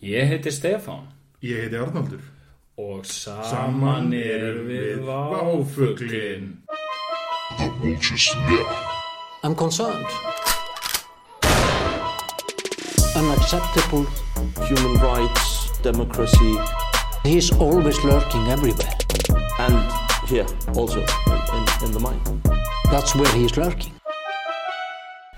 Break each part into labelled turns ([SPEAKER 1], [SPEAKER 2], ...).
[SPEAKER 1] Ég heiti Stefán
[SPEAKER 2] Ég heiti Arnaldur.
[SPEAKER 1] og saman erum við váfuglinn.
[SPEAKER 3] I'm concerned. Unacceptable.
[SPEAKER 4] human rights, democracy,
[SPEAKER 3] He's always lurking everywhere.
[SPEAKER 4] and here also in, in, in the mind.
[SPEAKER 3] That's where he's lurking.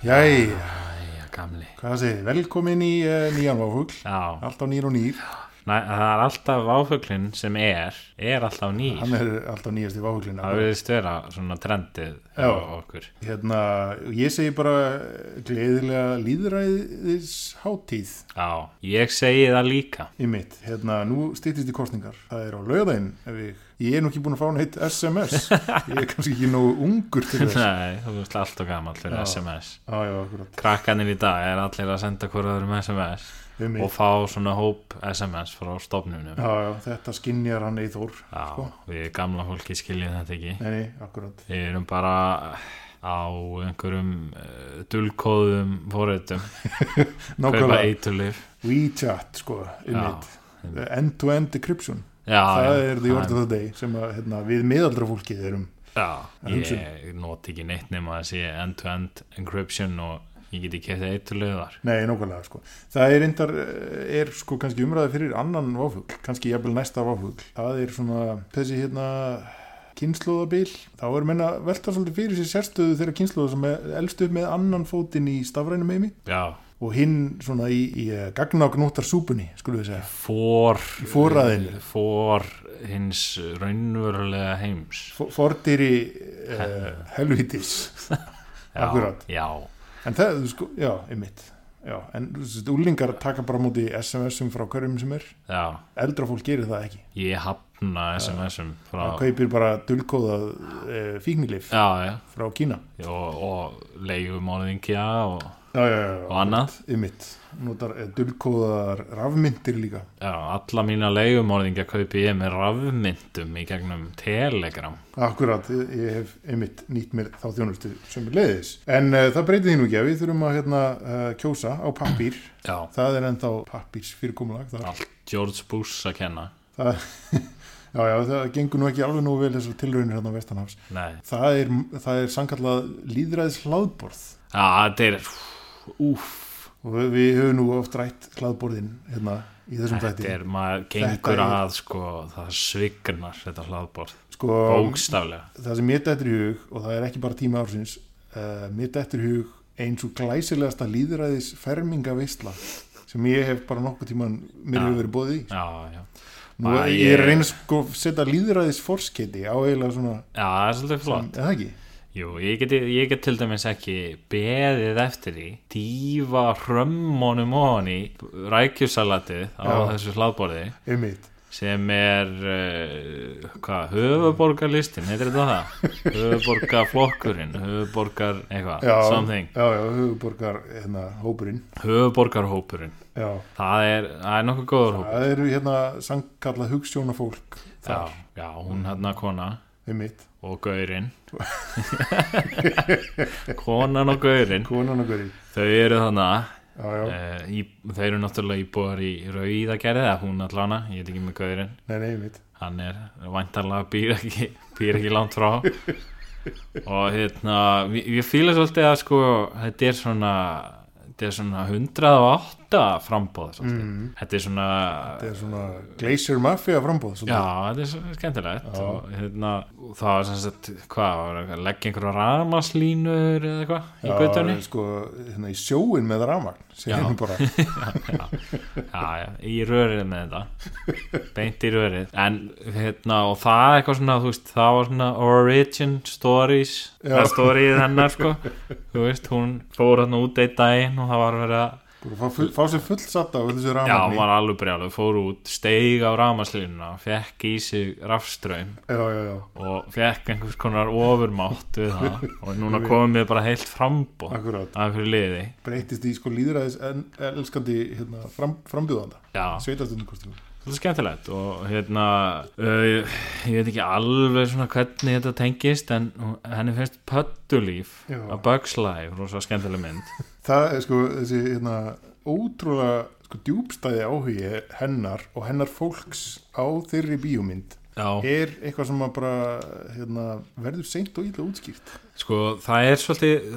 [SPEAKER 2] Jæja,
[SPEAKER 1] Æja, gamli.
[SPEAKER 2] hvað segir þið? Velkomin í uh, nýjan váfugl.
[SPEAKER 1] Já,
[SPEAKER 2] Alltaf nýr og nýr.
[SPEAKER 1] Næ, það er alltaf váfuglinn sem er, er alltaf nýr.
[SPEAKER 2] Hann er alltaf nýjast í váfuglinu.
[SPEAKER 1] Það verðist vera svona trendið
[SPEAKER 2] Já.
[SPEAKER 1] á okkur.
[SPEAKER 2] Hérna, ég segi bara gleðilega líðræðis hátíð
[SPEAKER 1] Já, ég segi það líka.
[SPEAKER 2] í mitt. Hérna, nú stýttist í kostningar. Það er á lögðaðinn. Ég, ég er nú ekki búin að fá hann heitt SMS. Ég er kannski ekki nógu ungur til þess.
[SPEAKER 1] Nei, þú veist alltaf gammal fyrir
[SPEAKER 2] Já.
[SPEAKER 1] SMS.
[SPEAKER 2] Á, já, akkurat.
[SPEAKER 1] Krakkanir í dag er allir að senda hverjaður um SMS
[SPEAKER 2] Um
[SPEAKER 1] og
[SPEAKER 2] mitt.
[SPEAKER 1] fá svona hóp SMS frá stofnunum.
[SPEAKER 2] Já, já, þetta skinnjar hann Eithór.
[SPEAKER 1] Já,
[SPEAKER 2] Sko.
[SPEAKER 1] við gamla fólki skiljum þetta ekki.
[SPEAKER 2] Nei, nei, akkurat.
[SPEAKER 1] Við erum bara á einhverjum uh, dulkóðum fórættum, kaupa
[SPEAKER 2] Nákvæmlega,
[SPEAKER 1] eitulif.
[SPEAKER 2] WeChat, sko, um mitt. End-to-end decryption.
[SPEAKER 1] Ah, Já,
[SPEAKER 2] það
[SPEAKER 1] já,
[SPEAKER 2] er the order of the day sem að, hérna, við miðaldra fólkið erum
[SPEAKER 1] Já,
[SPEAKER 2] hugsun.
[SPEAKER 1] ég noti ekki neitt nema að sé end-to-end encryption og ég geti kefðið eitulifar.
[SPEAKER 2] Nei, nákvæmlega sko. Það er reyndar, eh, er sko kannski umræði fyrir annan váfugl, kannski jafnvel næsta váfugl. Það er svona þessi hérna kynnslóðabil. Þá er menna velta svolítið fyrir sér sérstöðu þeirra kynnslóða sem er elst upp með annan fótinn í stafrænum heimi
[SPEAKER 1] Já,
[SPEAKER 2] og hinn svona í, í gagnáknóttar súpunni, skulum við segja.
[SPEAKER 1] for... eh,
[SPEAKER 2] Í forræðinu.
[SPEAKER 1] For hins raunverulega heims.
[SPEAKER 2] F- Fordýri uh, helvítis.
[SPEAKER 1] Já,
[SPEAKER 2] Akkúrat.
[SPEAKER 1] Já,
[SPEAKER 2] En það, sko, já, einmitt. Já, en þú veist, úlingar taka bara á móti SMS-um frá hverjum sem er.
[SPEAKER 1] já.
[SPEAKER 2] Eldra fólk gerir það ekki.
[SPEAKER 1] Ég hafna SMS-um frá...
[SPEAKER 2] Það kaupir bara dulkóðað e, fíknilif
[SPEAKER 1] Já, já.
[SPEAKER 2] frá Kína.
[SPEAKER 1] og, og leigumorðingja og,
[SPEAKER 2] Já, já, já.
[SPEAKER 1] og annað
[SPEAKER 2] Ymmit. Notar e, dulkóðaðar rafmyndir líka.
[SPEAKER 1] Já, alla mína leigumorðingja kaupi ég með rafmyndum í gegnum Telegram
[SPEAKER 2] Akkurat, ég, ég hef ymmit nýtt mér þá þjónustu sem er leiðis. En e, það breytir því nú ekki að við þurfum að hérna, e, kjósa á pappír.
[SPEAKER 1] Já,
[SPEAKER 2] Það er ennþá pappírs fyrirkomulag. Það,
[SPEAKER 1] allt George Bush að kenna
[SPEAKER 2] það, já, já, það gengur nú ekki alveg nú vel þessar tilraunir hérna á Vestanhafs.
[SPEAKER 1] Nei,
[SPEAKER 2] Það er, það er sankallað líðræðis hlaðborð
[SPEAKER 1] já, þetta er Úf,
[SPEAKER 2] og við, við höfum nú oft rætt hlaðborðin hérna í þessum
[SPEAKER 1] þetta
[SPEAKER 2] þætti.
[SPEAKER 1] er maður gengur
[SPEAKER 2] Þetta er-
[SPEAKER 1] að sko, það svignar þetta hlaðborð,
[SPEAKER 2] Sko,
[SPEAKER 1] bókstaflega
[SPEAKER 2] það sem mér dettur í hug og það er ekki bara tíma ársins uh, mér dettur í hug eins og glæsilegasta líðræðis fermingavisla sem ég hef bara nokkuð tíman mér
[SPEAKER 1] Já.
[SPEAKER 2] hefur verið bóðið í
[SPEAKER 1] Já, já, Æ,
[SPEAKER 2] Nú, ég
[SPEAKER 1] ég-
[SPEAKER 2] er reyna sko að setja líðræðis forskiti á eiginlega svona
[SPEAKER 1] já, það er svolítið flott
[SPEAKER 2] eða ekki?
[SPEAKER 1] Jú, ég get, ég get til dæmis ekki beðið eftir því dýfa hrömmunum ofan í rækjusalatið á
[SPEAKER 2] Já.
[SPEAKER 1] þessu hlaðborði
[SPEAKER 2] Einmitt.
[SPEAKER 1] sem er uh, hvað, höfuborgarlistin heitir þetta það? höfuborgarflokkurinn, höfuborgar eitthvað,
[SPEAKER 2] Já,
[SPEAKER 1] something,
[SPEAKER 2] já, já, höfuborgar hérna, hópurinn
[SPEAKER 1] höfuborgarhópurinn
[SPEAKER 2] já.
[SPEAKER 1] það er, það er nokkuð góður hópur
[SPEAKER 2] það eru hérna sankallað hugstjónafólk
[SPEAKER 1] já, já, hún hérna kona
[SPEAKER 2] einmitt,
[SPEAKER 1] og gaurinn konan og gaurinn
[SPEAKER 2] konan og hverju
[SPEAKER 1] þau eru þannig
[SPEAKER 2] já, já,
[SPEAKER 1] Uh, í, þeir eru náttúrulega íbúar í rauðagerði eða hún allana, ég veit ekki með gauðurinn
[SPEAKER 2] nei, nei, einmitt
[SPEAKER 1] hann er væntarlega býr ekki, býr ekki langt frá og hérna ég, ég fíla svolítið að sko þetta er svona þetta er svona 108 frambóð svolítið, þetta er svona
[SPEAKER 2] það Mhm. er svona Glacier Mafia frambóð
[SPEAKER 1] Já,
[SPEAKER 2] svolítið.
[SPEAKER 1] þetta er svo skemmtilegt og hérna, og það var sem sagt hvað, var eitthvað að leggja einhverja ramaslínur eða eitthvað í göttunni
[SPEAKER 2] sko, hérna í sjóin með rafmagn
[SPEAKER 1] Já.
[SPEAKER 2] segjum bara
[SPEAKER 1] já, já, í rörið með þetta beint í rörið en hérna og það er eitthvað svona þú veist, það var svona origin stories
[SPEAKER 2] Já.
[SPEAKER 1] það storyið hennar sko þú veist, hún fór hérna út eitt daginn og það var verið að,
[SPEAKER 2] Búið að fá, full, fá sér fullsatt af þessu
[SPEAKER 1] já, hún
[SPEAKER 2] rafmagni
[SPEAKER 1] var alveg brjálu fór út, steig á ramaslínuna fekk í sig rafströym
[SPEAKER 2] já, já, já,
[SPEAKER 1] og fekk einhvers konar ofurmátt við það og núna komum við bara heilt frambóð
[SPEAKER 2] akkurat
[SPEAKER 1] af hverju liði
[SPEAKER 2] breytist í sko líðræðis en, elskandi hérna, fram, frambjóðanda
[SPEAKER 1] já,
[SPEAKER 2] sveitastundinkortilum
[SPEAKER 1] Þetta er skemmtilegt og hérna uh, ég, ég veit ekki alveg svona hvernig þetta tengist en hún- henni finnst Pöttulíf
[SPEAKER 2] Já.
[SPEAKER 1] að Bugs Life, rosa skemmtileg mynd
[SPEAKER 2] það er sko þessi hérna ótrúlega sko, sko djúbstæði áhugi hennar og hennar fólks á þeirri bíómynd
[SPEAKER 1] já,
[SPEAKER 2] er eitthvað sem að bara hérna, verður seint og ítla útskýrt
[SPEAKER 1] sko það er svolítið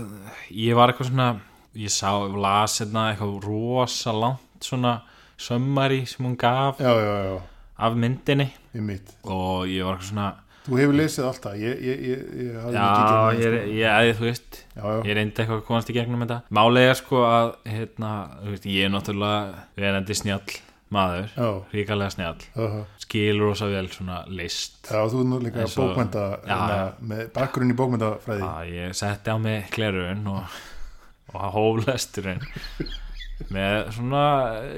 [SPEAKER 1] ég var eitthvað svona ég sá, las hérna eitthvað rosa langt svona sömmari sem hún gaf
[SPEAKER 2] já, já, já,
[SPEAKER 1] af myndinni
[SPEAKER 2] ég mitt
[SPEAKER 1] og ég var eitthvað svona
[SPEAKER 2] þú hefur lesið alltaf ég, ég, ég, ég hafði
[SPEAKER 1] já,
[SPEAKER 2] ekki sko.
[SPEAKER 1] ég, er- ég, ég, þú veist
[SPEAKER 2] já, já,
[SPEAKER 1] ég reyndi eitthvað að komast í gegnum þetta málega sko að hérna, þú veist, ég er náttúrulega verandi snjall maður,
[SPEAKER 2] já,
[SPEAKER 1] ríkalega snjall
[SPEAKER 2] já, já.
[SPEAKER 1] skilur ósa vel svona list
[SPEAKER 2] Já, þú er nú líka
[SPEAKER 1] Eins og-
[SPEAKER 2] bókmynda,
[SPEAKER 1] Já,
[SPEAKER 2] hérna, með bakgrunn í bókmyndafræði.
[SPEAKER 1] að ég setti á mig glerun og, og hólesturinn með svona,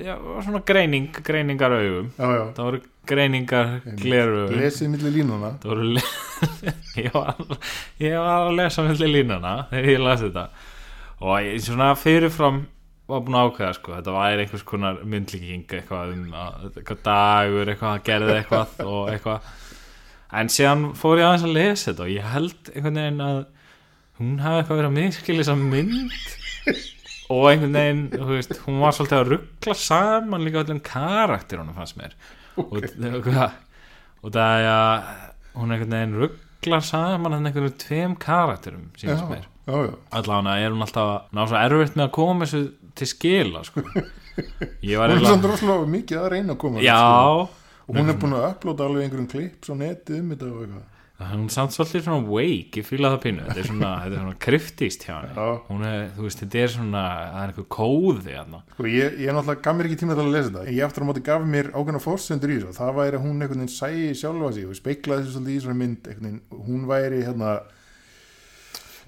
[SPEAKER 1] já, svona greining, greiningar augum
[SPEAKER 2] Já, já,
[SPEAKER 1] það voru greiningar glerun
[SPEAKER 2] lesið milli línuna.
[SPEAKER 1] það voru le- ég, var, ég var að lesa með línana þegar ég las þetta og ég svona fyrirfram var búin að ákveða sko, þetta væri einhvers konar myndlíking eitthvað um að, eitthvað dagur, eitthvað að gerði eitthvað og eitthvað en síðan fór ég aðeins að lesa þetta og ég held einhvern veginn að hún hafi eitthvað verið að miskil þessa mynd og einhvern veginn, þú veist, hún var svolítið að ruggla saman líka öllum karakterunum fannst mér og, og, og það er að hún einhvern veginn rugglar saman hann einhvern veginn tveim karakterum
[SPEAKER 2] Já,
[SPEAKER 1] sínast mér
[SPEAKER 2] já, já.
[SPEAKER 1] allan að er hún alltaf að ná svo erfitt með að koma þessu til skila sko. ég var
[SPEAKER 2] Hún er
[SPEAKER 1] eiginlega-
[SPEAKER 2] svona rosalega mikið að reyna að koma. að þessu.
[SPEAKER 1] já,
[SPEAKER 2] Og hún er búin að upplóta alveg einhverjum klipp svo netið um þetta og eitthvað.
[SPEAKER 1] hún er samt svolítið svona wake ég fýla það pínu, þetta er svona, þetta er svona kryftist hjá henni,
[SPEAKER 2] Já.
[SPEAKER 1] hún er, þú veist, þetta er svona það er einhver kóði hérna.
[SPEAKER 2] Sko, ég, ég náttúrulega gaf mér ekki tíma til að lesa þetta. En Ég aftur á móti gaf mér ákveðna fórsendur í þessu. Það væri að hún einhvern veginn sæi sjálfa sig og speiklaði þessu svolítið í þessari mynd. einhvern veginn. Hún væri hérna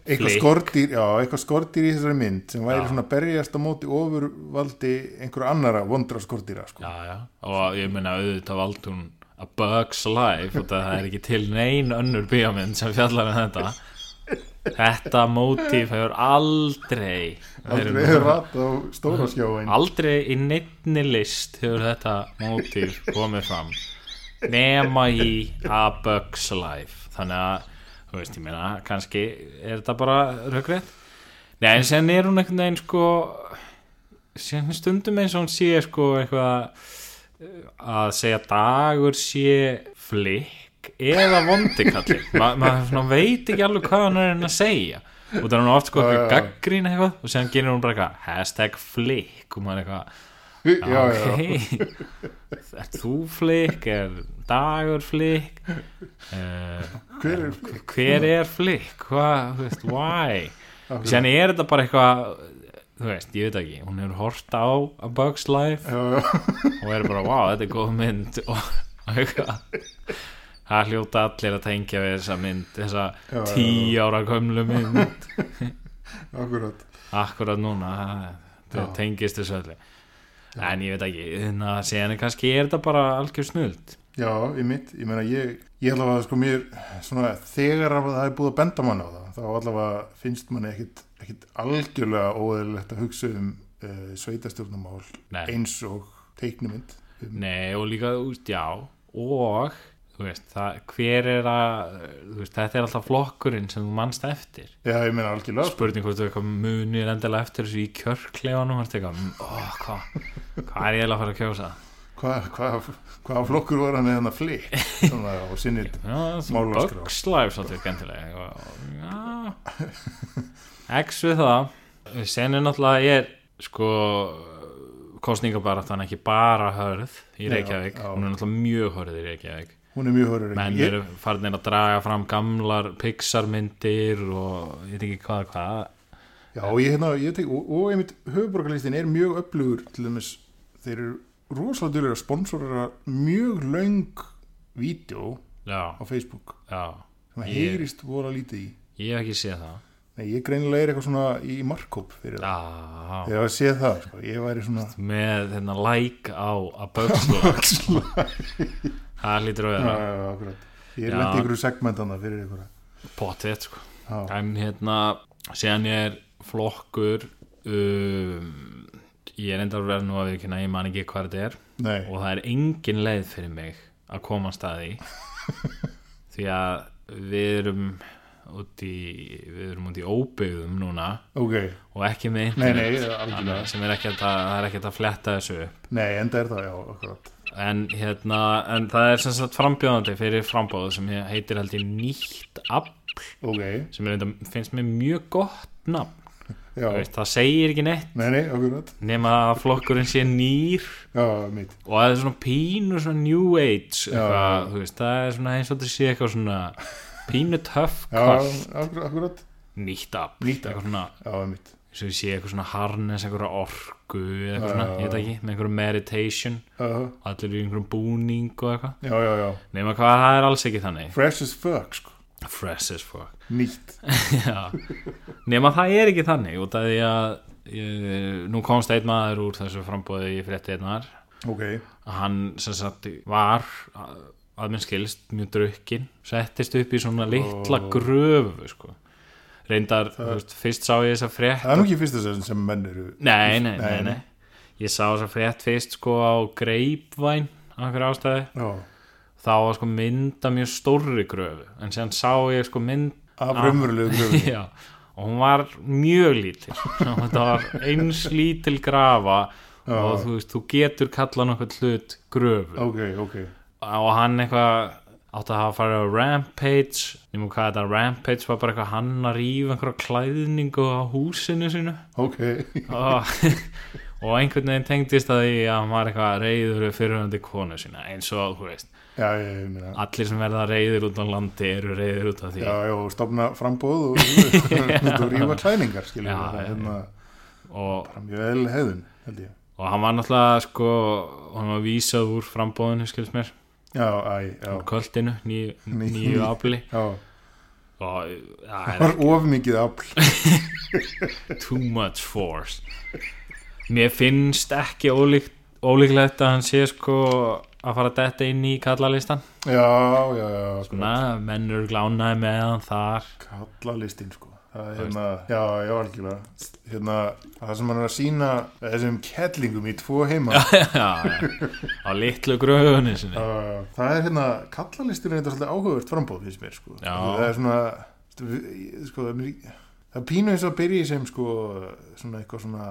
[SPEAKER 2] eitthvað
[SPEAKER 1] Flik.
[SPEAKER 2] skortýr, já, eitthvað skortýr í þessari mynd sem væri
[SPEAKER 1] Já.
[SPEAKER 2] svona að berjast á móti ofurvaldi einhverja annara vondra skortýra, sko.
[SPEAKER 1] já, já. og ég meina auðvitað vald hún A Bug's Life og það er ekki til nein önnur bíómynd sem fjallar um þetta þetta mótíf hefur aldrei
[SPEAKER 2] Aldrei
[SPEAKER 1] verið-
[SPEAKER 2] hefur rætt á stóra skjáin.
[SPEAKER 1] aldrei í neittni list hefur þetta mótíf komið fram nema í A Bug's Life þannig að, þú veist, ég meina kannski er þetta bara rökrétt Nei, en sen er hún einhvern veginn sko sen stundum eins og hún sé sko eitthvað að segja dagur sé flikk eða vondikallin Ma, maður svona veit ekki alveg hvað hann er að segja og það er hún oft sko
[SPEAKER 2] Já,
[SPEAKER 1] eitthvað
[SPEAKER 2] já, já.
[SPEAKER 1] gaggrín eitthvað og sen gerir hún bara eitthvað hashtag flikk og maður er eitthvað
[SPEAKER 2] Já, já,
[SPEAKER 1] ok er þú flikk, er dagur flikk uh,
[SPEAKER 2] Hver er,
[SPEAKER 1] hver er flikk hvað, þú veist, why sen er þetta bara eitthvað þú veist, ég veit ekki, hún hefur hort á A Bug's Life
[SPEAKER 2] já, já.
[SPEAKER 1] og er bara, wow, þetta er góð mynd og og eitthvað það hljóta allir að tengja við þessa mynd þessa
[SPEAKER 2] já, já.
[SPEAKER 1] tí ára gömlu mynd
[SPEAKER 2] Akkurat
[SPEAKER 1] akkurat núna það- það
[SPEAKER 2] Já.
[SPEAKER 1] tengist þessu öllu en ég veit ekki, þannig að séðan er kannski er þetta bara algjör snöld
[SPEAKER 2] Já, ég mitt, ég meina ég ég allavega sko mér svona þegar að það er búið að benda mann á það þá allavega finnst manni ekkit, ekkit algjörlega óeðlilegt að hugsa um uh, sveitastjórnumál
[SPEAKER 1] Nei.
[SPEAKER 2] eins og teiknumynd um,
[SPEAKER 1] Nei og líka út, já og þú veist, það, hver er að þú veist, þetta er alltaf flokkurinn sem þú mannst eftir
[SPEAKER 2] Já, ég meina algjörlega sko
[SPEAKER 1] spurning hvort þú eitthvað munir endilega eftir þessu í kjörklefanum og eitthvað, mm, ó, hvað hvað er ég eiginlega að fara að kjósa
[SPEAKER 2] hvað hva, hva flokkur var hann eða flik svona á sinni
[SPEAKER 1] já,
[SPEAKER 2] Málaskrá.
[SPEAKER 1] bugslæf svolítið gendilega já x við það sen er náttúrulega er sko kostningabaratan ekki bara hörð í
[SPEAKER 2] Já,
[SPEAKER 1] Reykjavík,
[SPEAKER 2] já.
[SPEAKER 1] hún er náttúrulega mjög hörð í Reykjavík
[SPEAKER 2] hún er mjög hörur
[SPEAKER 1] menn eru farinir að draga fram gamlar Pixar-myndir og ég veit ekki hvað hvað
[SPEAKER 2] Já, ég, hérna, ég tek, og, og einmitt höfuborgarlistin er mjög öflugur til dæmis, þeir eru rosalega duðlega að sponsorera mjög löng vídeo á
[SPEAKER 1] já,
[SPEAKER 2] Facebook
[SPEAKER 1] já,
[SPEAKER 2] sem að
[SPEAKER 1] Ég-
[SPEAKER 2] heyrist voru að lítið í
[SPEAKER 1] ég hef ekki séð það
[SPEAKER 2] Nei, ég greinilega er eitthvað svona í markkóp fyrir það
[SPEAKER 1] já,
[SPEAKER 2] Þegar að sé það, sko, ég væri svona
[SPEAKER 1] með hérna like á að bögsla það lítur að
[SPEAKER 2] Já,
[SPEAKER 1] vera
[SPEAKER 2] já, já, akkurat. Ég er
[SPEAKER 1] Já.
[SPEAKER 2] lent í einhverju segmentana fyrir einhverja
[SPEAKER 1] potið sko.
[SPEAKER 2] Já,
[SPEAKER 1] en hérna, séðan ég er flokkur um, ég er enda að vera nú að við kynna ég man ekki hvað þetta er
[SPEAKER 2] nei,
[SPEAKER 1] og það er engin leið fyrir mig að komast að því því að við erum út í, við erum út í óbyggðum núna
[SPEAKER 2] ok,
[SPEAKER 1] og ekki með
[SPEAKER 2] nei,
[SPEAKER 1] internet,
[SPEAKER 2] nei, algjörlega
[SPEAKER 1] sem er ekki að, það er ekki að fletta þessu upp
[SPEAKER 2] nei, enda er það, já, akkurat
[SPEAKER 1] en, hérna, en það er sem sagt frambjóðandi fyrir frambóð sem heitir held ég nýtt afl
[SPEAKER 2] ok,
[SPEAKER 1] sem er, enda- finnst mér mjög gott nafn
[SPEAKER 2] já,
[SPEAKER 1] Þú veist, það segir ekki neitt
[SPEAKER 2] nei, nei, akkurat
[SPEAKER 1] nema að flokkurinn sé nýr
[SPEAKER 2] já, mitt,
[SPEAKER 1] og það er svona pínu svona new age
[SPEAKER 2] Já.
[SPEAKER 1] eitthvað, þú veist, það er svona eins og þetta sé eitthvað svona pínu töff
[SPEAKER 2] já,
[SPEAKER 1] kvart
[SPEAKER 2] akkur- akkurat
[SPEAKER 1] nýtt afl,
[SPEAKER 2] Nýtt afl.
[SPEAKER 1] eitthvað svona
[SPEAKER 2] já, mitt,
[SPEAKER 1] eins og ég sé eitthvað svona harness eitthvað orku eða eitthvað
[SPEAKER 2] Já,
[SPEAKER 1] svona,
[SPEAKER 2] já,
[SPEAKER 1] ég veit ekki, með einhverjum meditation
[SPEAKER 2] já,
[SPEAKER 1] allir í einhverjum búning og eitthvað
[SPEAKER 2] já, já, já
[SPEAKER 1] nema hvað, það er alls ekki þannig
[SPEAKER 2] fresh as fuck, sko,
[SPEAKER 1] fresh as fuck
[SPEAKER 2] nýtt
[SPEAKER 1] Já. nema það er ekki þannig út af því að ég, nú komst einn maður úr þessu frambóði í frétti einnar
[SPEAKER 2] ok,
[SPEAKER 1] að hann sem sagt var að að minn skilst mjög drukkin settist upp í svona litla gröfu sko. reyndar, þú veist, fyrst sá ég þess að frétt
[SPEAKER 2] það er nú ekki fyrsta sessin sem menn eru
[SPEAKER 1] Nei, nei, nei,
[SPEAKER 2] Nei,
[SPEAKER 1] nei. Ég sá þess að frétt fyrst sko á Greipvæn af einhverju ástæði.
[SPEAKER 2] já,
[SPEAKER 1] Þá var sko mynd af mjög stórri gröfu. En séðan sá ég sko mynd,
[SPEAKER 2] af raumurlegu gröfum
[SPEAKER 1] já, og hún var mjög lítil. Og Þetta var eins lítil grafa og þú veist, þú getur kallað nokkuð hlut gröfu.
[SPEAKER 2] ok, ok,
[SPEAKER 1] Og hann eitthvað átti að hafa farið á Rampage, nema hvað þetta Rampage var bara eitthvað hann að rífa einhverja klæðningu á húsinu sínu.
[SPEAKER 2] ok
[SPEAKER 1] Ah, og einhvern veginn tengdist að því að hann var eitthvað reyður fyrirhandi konu sína eins og þú veist,
[SPEAKER 2] já, ég, ég meina
[SPEAKER 1] allir sem verða reyður út á landi eru reyður út af því
[SPEAKER 2] Já, já, og stopna frambóð og, og rífa klæningar, skiljum
[SPEAKER 1] Já, já,
[SPEAKER 2] við, það er hérna
[SPEAKER 1] og,
[SPEAKER 2] bara mjög vel hefðun, held ég.
[SPEAKER 1] og hann var náttúrulega sko, hann var vísað úr frambóðinu skilst mér,
[SPEAKER 2] Já, æ, já,
[SPEAKER 1] úr kvöldinu ný,
[SPEAKER 2] Ný-
[SPEAKER 1] nýju afli
[SPEAKER 2] já,
[SPEAKER 1] og það
[SPEAKER 2] það
[SPEAKER 1] er
[SPEAKER 2] var of mikið afl.
[SPEAKER 1] too much force mér finnst ekki ólíkt, ólíklegt að hann sé sko að fara að detta inn í kallalistan
[SPEAKER 2] Já, já, já, sko,
[SPEAKER 1] Na, menn eru glánaði með hann þar
[SPEAKER 2] kalla listin, sko. Það er hérna, já, já, algjörlega, hérna, það sem hann er að sína þessum kettlingum í tvo heima, já,
[SPEAKER 1] Já, já. á litlu gröfunni sinni
[SPEAKER 2] það er hérna, kalla listin er þetta svolítið áhugavert frambóð, finnst mér, sko.
[SPEAKER 1] Já.
[SPEAKER 2] Það er svona, stu- sko, það er mjög... Það er pínu eins og að byrja í sem sko svona eitthvað svona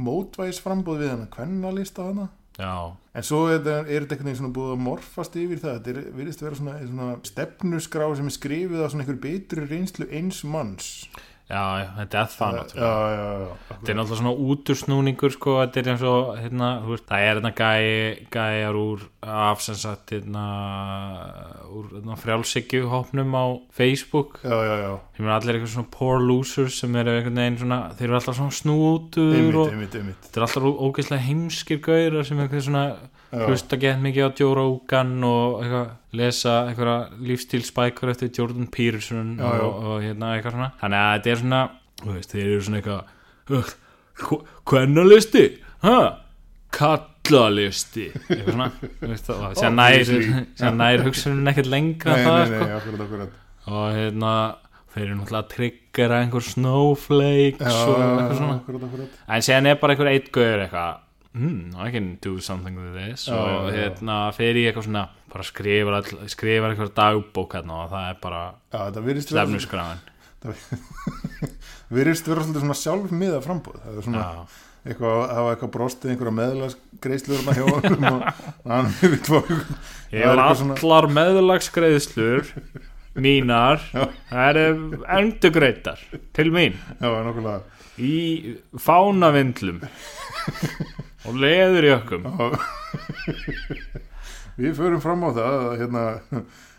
[SPEAKER 2] mótvæs frambóð við hann að hvenna lista hana
[SPEAKER 1] Já,
[SPEAKER 2] En svo er þetta, er þetta einhvern veginn svona búið að morfast yfir það, þetta er, virðist vera svona, svona stefnusgrá sem er skrifið á svona einhver betri reynslu eins manns.
[SPEAKER 1] já, já, þetta er það
[SPEAKER 2] Já,
[SPEAKER 1] náttúrulega
[SPEAKER 2] já, já.
[SPEAKER 1] Þetta er náttúrulega svona útursnúningur sko, þetta er eins og, hérna, þú veist, það er hérna gæ, gæjar úr af sem sagt, hérna, úr hérna, frjálsikju hópnum á Facebook
[SPEAKER 2] Já, já, já.
[SPEAKER 1] sem eru allir eitthvað svona poor losers sem eru einhvern veginn svona, þeir eru alltaf svona
[SPEAKER 2] Einmitt,
[SPEAKER 1] snútur og
[SPEAKER 2] einmitt, einmitt.
[SPEAKER 1] þetta er alltaf ó- ógeðslega heimskir gaurar sem eitthvað svona
[SPEAKER 2] Já.
[SPEAKER 1] hlusta gett mikið á Joe Rogan og eitthvað, lesa einhverja lífstílspækur eftir Jordan Peterson
[SPEAKER 2] Já, já.
[SPEAKER 1] Og, og hérna eitthvað svona þannig að þetta er svona, þú veist, þeir eru svona eitthvað hvernalisti, hæ kallalisti eitthvað svona, þú veist, og sér nær,
[SPEAKER 2] Obviously.
[SPEAKER 1] sér nær hugsunum ekkert lengra
[SPEAKER 2] Oh, Nei,
[SPEAKER 1] en það,
[SPEAKER 2] nei,
[SPEAKER 1] sko
[SPEAKER 2] nei, akkurat, akkurat.
[SPEAKER 1] og hérna, þeir eru náttúrulega að triggera einhver snowflakes
[SPEAKER 2] Já,
[SPEAKER 1] og eitthvað svona
[SPEAKER 2] akkurat, akkurat.
[SPEAKER 1] en síðan er bara einhver eitt gauður eitthvað hmm, I can do something with this
[SPEAKER 2] Já,
[SPEAKER 1] og
[SPEAKER 2] já, já.
[SPEAKER 1] hérna fer ég eitthvað svona bara skrifar, all, skrifar einhver dagbók hérna og það er bara
[SPEAKER 2] Já, það virðist vera,
[SPEAKER 1] stefnusgráðan
[SPEAKER 2] virðist vera svolítið svona sjálfmiða frambóð. Það er svona
[SPEAKER 1] Já.
[SPEAKER 2] eitthvað, það var eitthvað brostið einhverja meðlagsgreislur hjá honum og hann hefur tvo.
[SPEAKER 1] ég
[SPEAKER 2] það er
[SPEAKER 1] var
[SPEAKER 2] eitthvað svona-
[SPEAKER 1] allar meðlagsgreiðslur mínar það eru endugreitar til mín
[SPEAKER 2] Já, nokkulega.
[SPEAKER 1] í fánavindlum og leður í ökkum
[SPEAKER 2] Við förum fram á það að, hérna,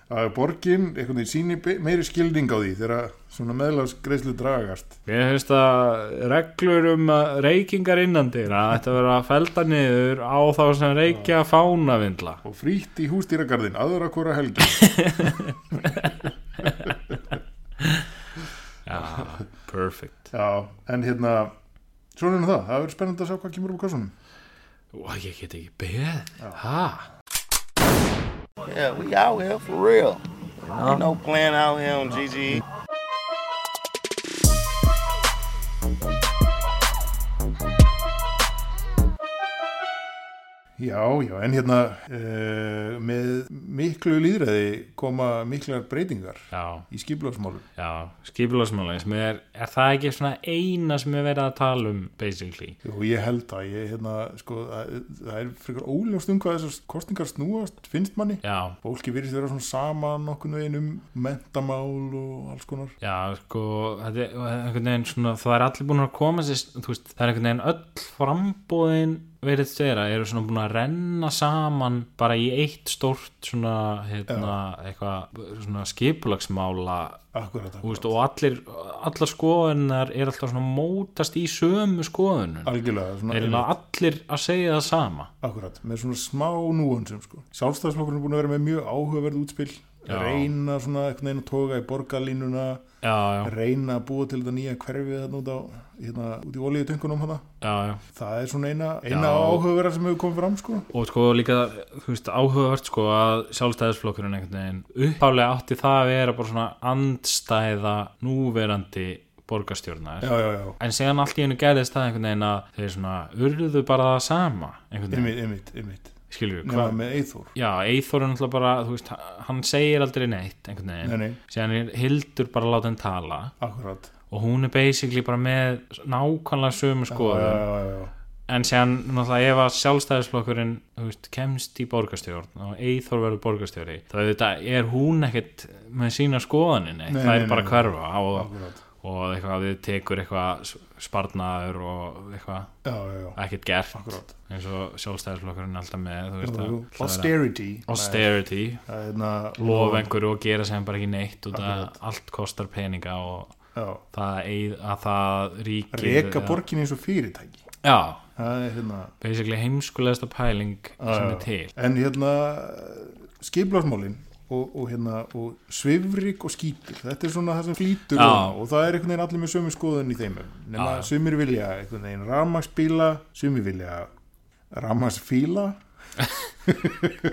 [SPEAKER 2] að borgin einhvern veginn síni be- meiri skilding á því þegar svona meðlagsgreislu dragast.
[SPEAKER 1] Mér finnst að reglur um að reykingar innan dyra ætti að vera að felda niður á þá sem reykja fánavindla.
[SPEAKER 2] Og frýtt í hústýragarðin, aðra hvora helgi.
[SPEAKER 1] Já, perfect.
[SPEAKER 2] Já, en hérna, svona er nú það. Það verður spennandi að sjá hvað kemur upp á kassunum.
[SPEAKER 1] Ó, ég get ekki beð. Hæ?
[SPEAKER 5] Yeah, we out here for real. Ain't no plan out here on E. GG.
[SPEAKER 2] Já, já, en hérna uh, með miklu líðræði koma miklar breytingar
[SPEAKER 1] já,
[SPEAKER 2] í skipulagsmálum.
[SPEAKER 1] já, skipulagsmála sem er, er það ekki svona eina sem er verið að tala um basically
[SPEAKER 2] Og ég held að ég, hérna, sko, að, það er frekar óljóst um hvað þessar kostningar snúast, finnst manni.
[SPEAKER 1] já,
[SPEAKER 2] Fólki virðist vera svona saman okkur veginn um mentamál og alls konar.
[SPEAKER 1] já, sko þetta er einhvern veginn svona, það er allir búin að koma sér, þú veist, það er einhvern veginn öll frambóðin verið þeirra eru svona búin að renna saman bara í eitt stórt svona, hérna, eitthvað svona skipulagsmála
[SPEAKER 2] Akkurat,
[SPEAKER 1] þú veist, og allir, allar skoðunar er alltaf svona mótast í sömu skoðunum
[SPEAKER 2] algjörlega, svona,
[SPEAKER 1] er allir að segja það sama
[SPEAKER 2] akkurat, með svona smá núansum, sko. Sjálfstæðisflokkurinn er búin að vera með mjög áhugaverð útspil,
[SPEAKER 1] Já.
[SPEAKER 2] reyna svona einhvern veginn að toga í borgarlínuna,
[SPEAKER 1] já, já,
[SPEAKER 2] reyna að búa til þetta nýja hverfið þarna út, á, hérna, út í olíutöngunum hana.
[SPEAKER 1] já, já
[SPEAKER 2] Það er svona eina, eina
[SPEAKER 1] Já.
[SPEAKER 2] áhugaverða sem hefur komið fram sko.
[SPEAKER 1] og sko líka, þú veist, áhugavert sko að sjálfstæðisflokkurinn einhvern veginn upphálega átti það að vera bara svona andstæða núverandi borgarstjórnar
[SPEAKER 2] Já, já, já,
[SPEAKER 1] en síðan allt í hennu gerðist það einhvern veginn að þeir svona urðu bara það sama einhvern veginn,
[SPEAKER 2] ymmit, ymmit, ymmit.
[SPEAKER 1] skilur við,
[SPEAKER 2] Nefna
[SPEAKER 1] hvað
[SPEAKER 2] með Eithor.
[SPEAKER 1] já, Eithor er náttúrulega bara, þú veist, hann segir aldrei neitt einhvern
[SPEAKER 2] Nei,
[SPEAKER 1] veginn,
[SPEAKER 2] nei,
[SPEAKER 1] síðan er Hildur bara að láta hann tala
[SPEAKER 2] akkurat.
[SPEAKER 1] og hún er basically bara með nákvæmlega sömu skoðun
[SPEAKER 2] Já, já, já, já.
[SPEAKER 1] en séðan náttúrulega ef að sjálfstæðisflokkurinn þú veist, kemst í borgarstjórn og Eithor verður borgarstjóri þá auðvitað er hún ekkert með sína skoðanin
[SPEAKER 2] Nei,
[SPEAKER 1] það er
[SPEAKER 2] nei,
[SPEAKER 1] bara
[SPEAKER 2] nei.
[SPEAKER 1] að hverfa og,
[SPEAKER 2] Akkurat.
[SPEAKER 1] og eitthvað við tekur eitthvað sparnaður og eitthvað
[SPEAKER 2] Já, já, já.
[SPEAKER 1] ekkert gert
[SPEAKER 2] Akkurat.
[SPEAKER 1] eins og sjálfstæðisflokkurinn er alltaf með þú veist
[SPEAKER 2] Jú, jú.
[SPEAKER 1] að
[SPEAKER 2] Austerity.
[SPEAKER 1] austerity
[SPEAKER 2] Það er hérna
[SPEAKER 1] lof einhverju og gera sem bara ekki neitt og það
[SPEAKER 2] Akkurat.
[SPEAKER 1] allt kostar peninga og
[SPEAKER 2] Já.
[SPEAKER 1] það eig- að það ríkir
[SPEAKER 2] Reka borgin eins og fyrirtæki.
[SPEAKER 1] já,
[SPEAKER 2] Það er hérna.
[SPEAKER 1] basically heimskulegasta pæling sem er til
[SPEAKER 2] En hérna skiplasmálin og, og hérna og svifrik og skýpil. Þetta er svona það sem flýtur
[SPEAKER 1] Já.
[SPEAKER 2] ofan á og það er einhvern veginn allir með sömu skoðun í þeim. Nefna
[SPEAKER 1] Já.
[SPEAKER 2] sumir vilja einhvern veginn rafmagsbíla, sumir vilja rafmagsfíla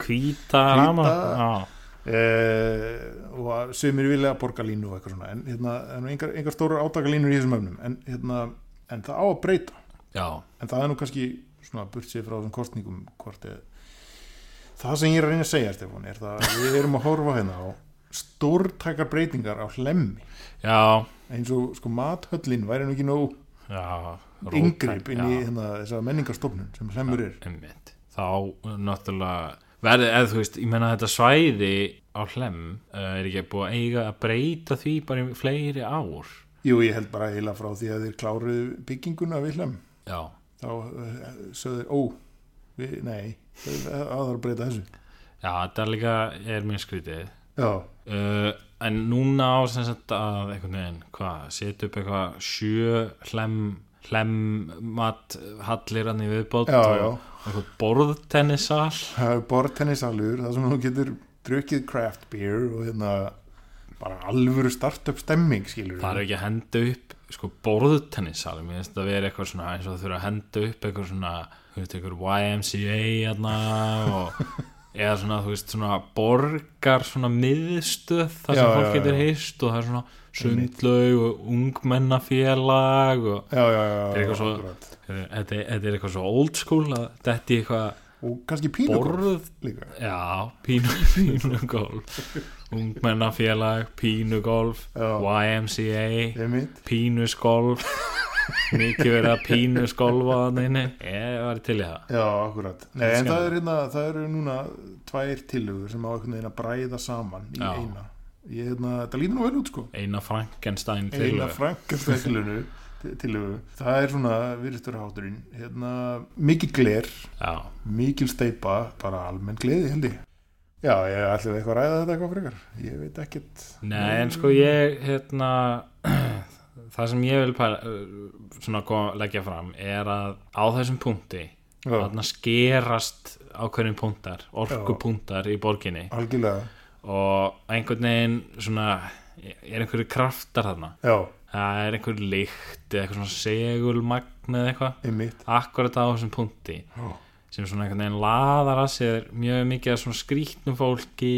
[SPEAKER 1] hvíta rama já,
[SPEAKER 2] eh, og sumir vilja borgarlínu og eitthvað svona. En hérna, en engar, engar stóra átakalínur í þessum öfnum. En hérna, en það á að breyta.
[SPEAKER 1] já,
[SPEAKER 2] en það er nú kannski svona burt sér frá þessum kostningum hvort eð það sem ég er að reyna að segja Stefán er það að við erum að horfa hérna á stórtækar breytingar á hlemmi
[SPEAKER 1] já,
[SPEAKER 2] eins og sko mathöllin væri nú ekki nóg
[SPEAKER 1] já róttæk,
[SPEAKER 2] yngripp inn í
[SPEAKER 1] já,
[SPEAKER 2] hérna, þessa menningarstofnun sem hlemmur er
[SPEAKER 1] einmitt. þá náttúrulega verði, eða þú veist, ég menna þetta svæði á hlem uh, er ekki búið að eiga að breyta því bara í fleiri ár
[SPEAKER 2] jú ég held bara heila frá því að þeir kláruðu bygginguna við hlemm
[SPEAKER 1] já,
[SPEAKER 2] þá eh, sögðu þeir ó við, nei, það það þarf að breyta þessu
[SPEAKER 1] já þetta er líka er mjög skrítið
[SPEAKER 2] já,
[SPEAKER 1] uh, en núna á sem sagt að einhvern veginn, hvað, setja upp eitthvað sjö hlem hlemmat hallir hann í viðbót
[SPEAKER 2] Já,
[SPEAKER 1] og
[SPEAKER 2] já.
[SPEAKER 1] eitthvað borðtennissal
[SPEAKER 2] það er bortennisalur það sem þú getur drukkið craft beer og hérna bara alvöru startup stemming skilur
[SPEAKER 1] það er ekki að henda upp sko borðtennissal mér finnst þetta að vera eitthvað svona eins og það þurfa að henda upp eitthvað svona, þú veist, eitthvað YMCA hérna og eða svona, þú veist, svona borgar svona miðstöð þar sem
[SPEAKER 2] Já,
[SPEAKER 1] fólk
[SPEAKER 2] já,
[SPEAKER 1] getur
[SPEAKER 2] já.
[SPEAKER 1] hist og það er svona sundlaug og ungmennafélag og
[SPEAKER 2] já, já, já,
[SPEAKER 1] Þetta er eitthvað svo-
[SPEAKER 2] akkurat.
[SPEAKER 1] Þetta, þetta er eitthvað svo old school að þetta er eitthvað
[SPEAKER 2] og kannski pínugolf
[SPEAKER 1] borð
[SPEAKER 2] líka
[SPEAKER 1] Já, pínu, pínugolf Ungmennafélag, pínugolf
[SPEAKER 2] Já.
[SPEAKER 1] YMCA
[SPEAKER 2] Einmitt.
[SPEAKER 1] Pínusgolf Mikið verið að pínusgolfa þannig inni Ég var til í það
[SPEAKER 2] já, akkurat Nei, en
[SPEAKER 1] Skemmtilegt.
[SPEAKER 2] það, er, hérna, það eru núna tvær tillögur sem á einhvern veginn að bræða saman í
[SPEAKER 1] Já.
[SPEAKER 2] eina ég, hérna, það lítur nú vel út sko
[SPEAKER 1] Eina Frankenstein til
[SPEAKER 2] eina frangastöðlunu tillögu það er svona virðisturhátturinn hérna, mikið gler
[SPEAKER 1] Já,
[SPEAKER 2] mikil steipa, bara almenn gleði held ég já, ég ætlum við eitthvað að ræða þetta eitthvað frekar ég veit ekkert
[SPEAKER 1] nei en sko ég hérna Það sem ég vil pæla, uh, svona kom- leggja fram er að á þessum punkti
[SPEAKER 2] já,
[SPEAKER 1] þarna skerast ákveðin punktar, orkupunktar í borginni
[SPEAKER 2] algjörlega,
[SPEAKER 1] og einhvern veginn svona er einhverju kraftar þarna
[SPEAKER 2] já,
[SPEAKER 1] það er einhverju lykt eða eitthvað svona segulmagn eða eitthvað
[SPEAKER 2] einmitt
[SPEAKER 1] akkurat á þessum punkti
[SPEAKER 2] Já.
[SPEAKER 1] sem svona einhvern veginn laðar að sér mjög mikið af svona skrýtnum fólki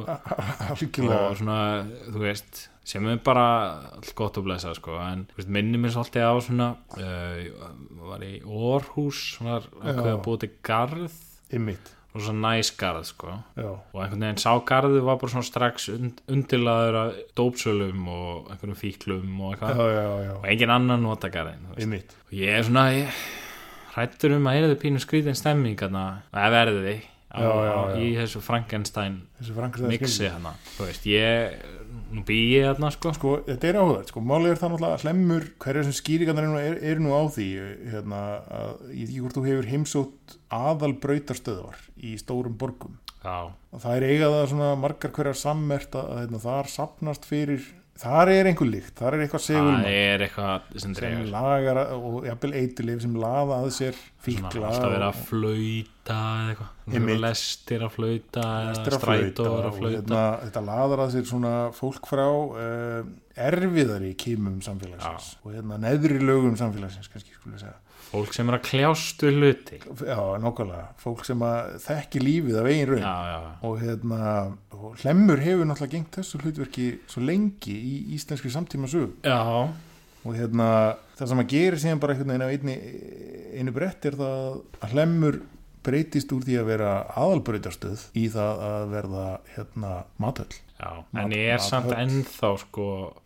[SPEAKER 1] og, og
[SPEAKER 2] algjörlega,
[SPEAKER 1] svona, þú veist sem er bara allt gott að blessa sko, en þú veist, minnir mér svolítið eh, á svona uh, var í Orhus svona að
[SPEAKER 2] Já.
[SPEAKER 1] búið til garð
[SPEAKER 2] ymmit
[SPEAKER 1] og svo næskarð sko
[SPEAKER 2] já,
[SPEAKER 1] og einhvern veginn ságarðu var bara svona strax und, undirlaður að dópsölum og einhvernum fíklum og
[SPEAKER 2] já,
[SPEAKER 1] eitthvað
[SPEAKER 2] já, já,
[SPEAKER 1] og engin annan notagarðin og
[SPEAKER 2] ymmit
[SPEAKER 1] ég er svona ég, hrættur um að erðu pínu skrýtin stemming hérna. þarna, að verði því á,
[SPEAKER 2] Já, já, já.
[SPEAKER 1] í þessu Frankenstein
[SPEAKER 2] þessi Frankenstein
[SPEAKER 1] mixi hana þú veist, ég, nú bý ég hana sko
[SPEAKER 2] sko, þetta er áhugað, sko, málið er það náttúrulega að hlemmur, hverja sem skýringarnar eru nú, er, er nú á því, hérna, að, ég veit ekki hvort þú hefur heimsótt aðalbrautastöðvar í stórum borgum
[SPEAKER 1] já,
[SPEAKER 2] og það er eiga það svona margar hverjar sammert að, að hérna, þar sapnast fyrir, þar er einhver líkt, þar er eitthvað
[SPEAKER 1] það
[SPEAKER 2] segulmann
[SPEAKER 1] er eitthvað sem
[SPEAKER 2] sem
[SPEAKER 1] dregur
[SPEAKER 2] lagar að- og jafnvel eitilif sem laða að sér
[SPEAKER 1] Svona,
[SPEAKER 2] fíkla
[SPEAKER 1] alltaf verið
[SPEAKER 2] og
[SPEAKER 1] að flauta eða eitthvað
[SPEAKER 2] Einmitt.
[SPEAKER 1] Einmitt. lestir að flauta
[SPEAKER 2] eftir
[SPEAKER 1] eða
[SPEAKER 2] að flauta
[SPEAKER 1] strætó er
[SPEAKER 2] og
[SPEAKER 1] að
[SPEAKER 2] hérna,
[SPEAKER 1] flauta
[SPEAKER 2] þetta laðar að sér svona fólk frá uh, erfiðari kýmum samfélagsins og hérna neðri lögum samfélagsins kannski skulle við segja
[SPEAKER 1] fólk sem er að kljástu hluti já,
[SPEAKER 2] já, nokkulega, fólk sem að þekki lífið af eigin raun
[SPEAKER 1] já, já.
[SPEAKER 2] og hérna, og hlemmur hefur náttúrulega gengt þessu hlutverki svo lengi í íslenskri samtíma
[SPEAKER 1] já,
[SPEAKER 2] og hérna, það sem að gera síðan bara einhvern veginn á einni, einu brett er það að hlemmur breytist úr því að vera aðalbreytastöð í það að verða hérna matöll
[SPEAKER 1] já.
[SPEAKER 2] Mat-
[SPEAKER 1] en ég er samt
[SPEAKER 2] mathöll.
[SPEAKER 1] ennþá sko,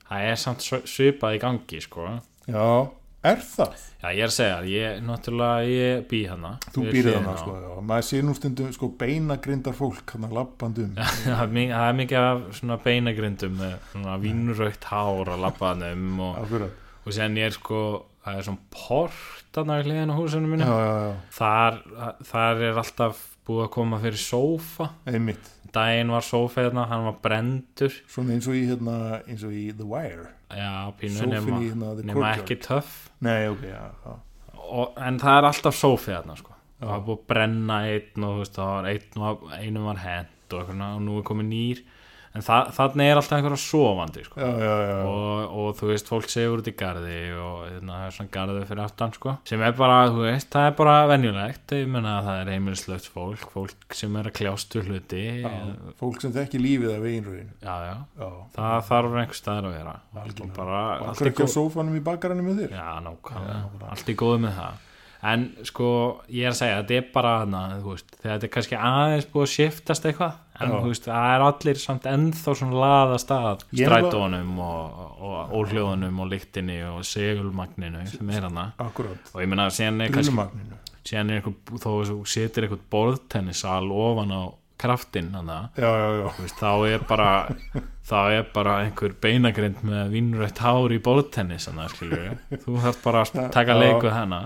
[SPEAKER 1] það er samt s- svipað í gangi sko
[SPEAKER 2] Já, er það?
[SPEAKER 1] Já, ég er að segja, það, ég, náttúrulega, ég hérna. bý hana
[SPEAKER 2] Þú býrið hana, sko, já. Maður sé nú stundum, sko, beinagrindar fólk, um. hann að lappandum.
[SPEAKER 1] Það er mi- það er mikið af svona beinagrindum með svona vínuraukt hár að labba hann um og,
[SPEAKER 2] Akkurat.
[SPEAKER 1] og séðan ég er sko, það er svona port að hliðin á húsinu
[SPEAKER 2] Já,
[SPEAKER 1] mínu
[SPEAKER 2] já, já,
[SPEAKER 1] þar, þar er alltaf búið að koma fyrir sófa
[SPEAKER 2] einmitt.
[SPEAKER 1] daginn var sófa hérna, hann var brendur
[SPEAKER 2] Svona eins og í, hérna, eins og í The Wire.
[SPEAKER 1] já, pínu
[SPEAKER 2] Sófinn
[SPEAKER 1] nema,
[SPEAKER 2] í hérna, the
[SPEAKER 1] nema
[SPEAKER 2] courtyard.
[SPEAKER 1] ekki töff
[SPEAKER 2] Nei, ok, já, já.
[SPEAKER 1] og, en það er alltaf sófa hérna sko. það var búið að brenna einn og þú veist, það var einn var, einum var hent og, eitthvað, og nú er komið nýr en það, þannig er alltaf einhverja sofandi sko.
[SPEAKER 2] Já, já, já.
[SPEAKER 1] og, og þú veist, fólk segur út í garði og hérna, það er svona garði fyrir aftan sko. sem er bara, þú veist, það er bara venjulegt, ég menna að það er heimilislegt fólk fólk sem er að kljástu hluti já,
[SPEAKER 2] Fólk sem þekki lífið af einröðin.
[SPEAKER 1] já,
[SPEAKER 2] Já.
[SPEAKER 1] það þarf einhver staðar að vera og bara, allt
[SPEAKER 2] Akkur
[SPEAKER 1] er
[SPEAKER 2] ekki á
[SPEAKER 1] góð
[SPEAKER 2] sófanum í bakaranum með þér?
[SPEAKER 1] já, nákvæmlega, allt er góð með það en sko, ég er að segja þetta er bara hana, þú veist, þegar þetta er kannski aðeins búið að shiftast eitthvað en
[SPEAKER 2] Já.
[SPEAKER 1] þú veist, það er allir samt ennþá svona laðast að
[SPEAKER 2] Ég er alveg-
[SPEAKER 1] strætónum og, og ólhljóðunum og lyktinni og segulmagninu sem er hana
[SPEAKER 2] Akkurat.
[SPEAKER 1] og ég meina, síðan er kannski
[SPEAKER 2] Grillmagninu.
[SPEAKER 1] síðan er eitthvað, þó þú setir eitthvað borðtennissal ofan á kraftinn hana,
[SPEAKER 2] Já, já, já.
[SPEAKER 1] þú veist, þá er bara þá er bara einhver beinagrind með vinnrætt hár í bóltennis þú þarf bara að taka
[SPEAKER 2] Já.
[SPEAKER 1] leiku hana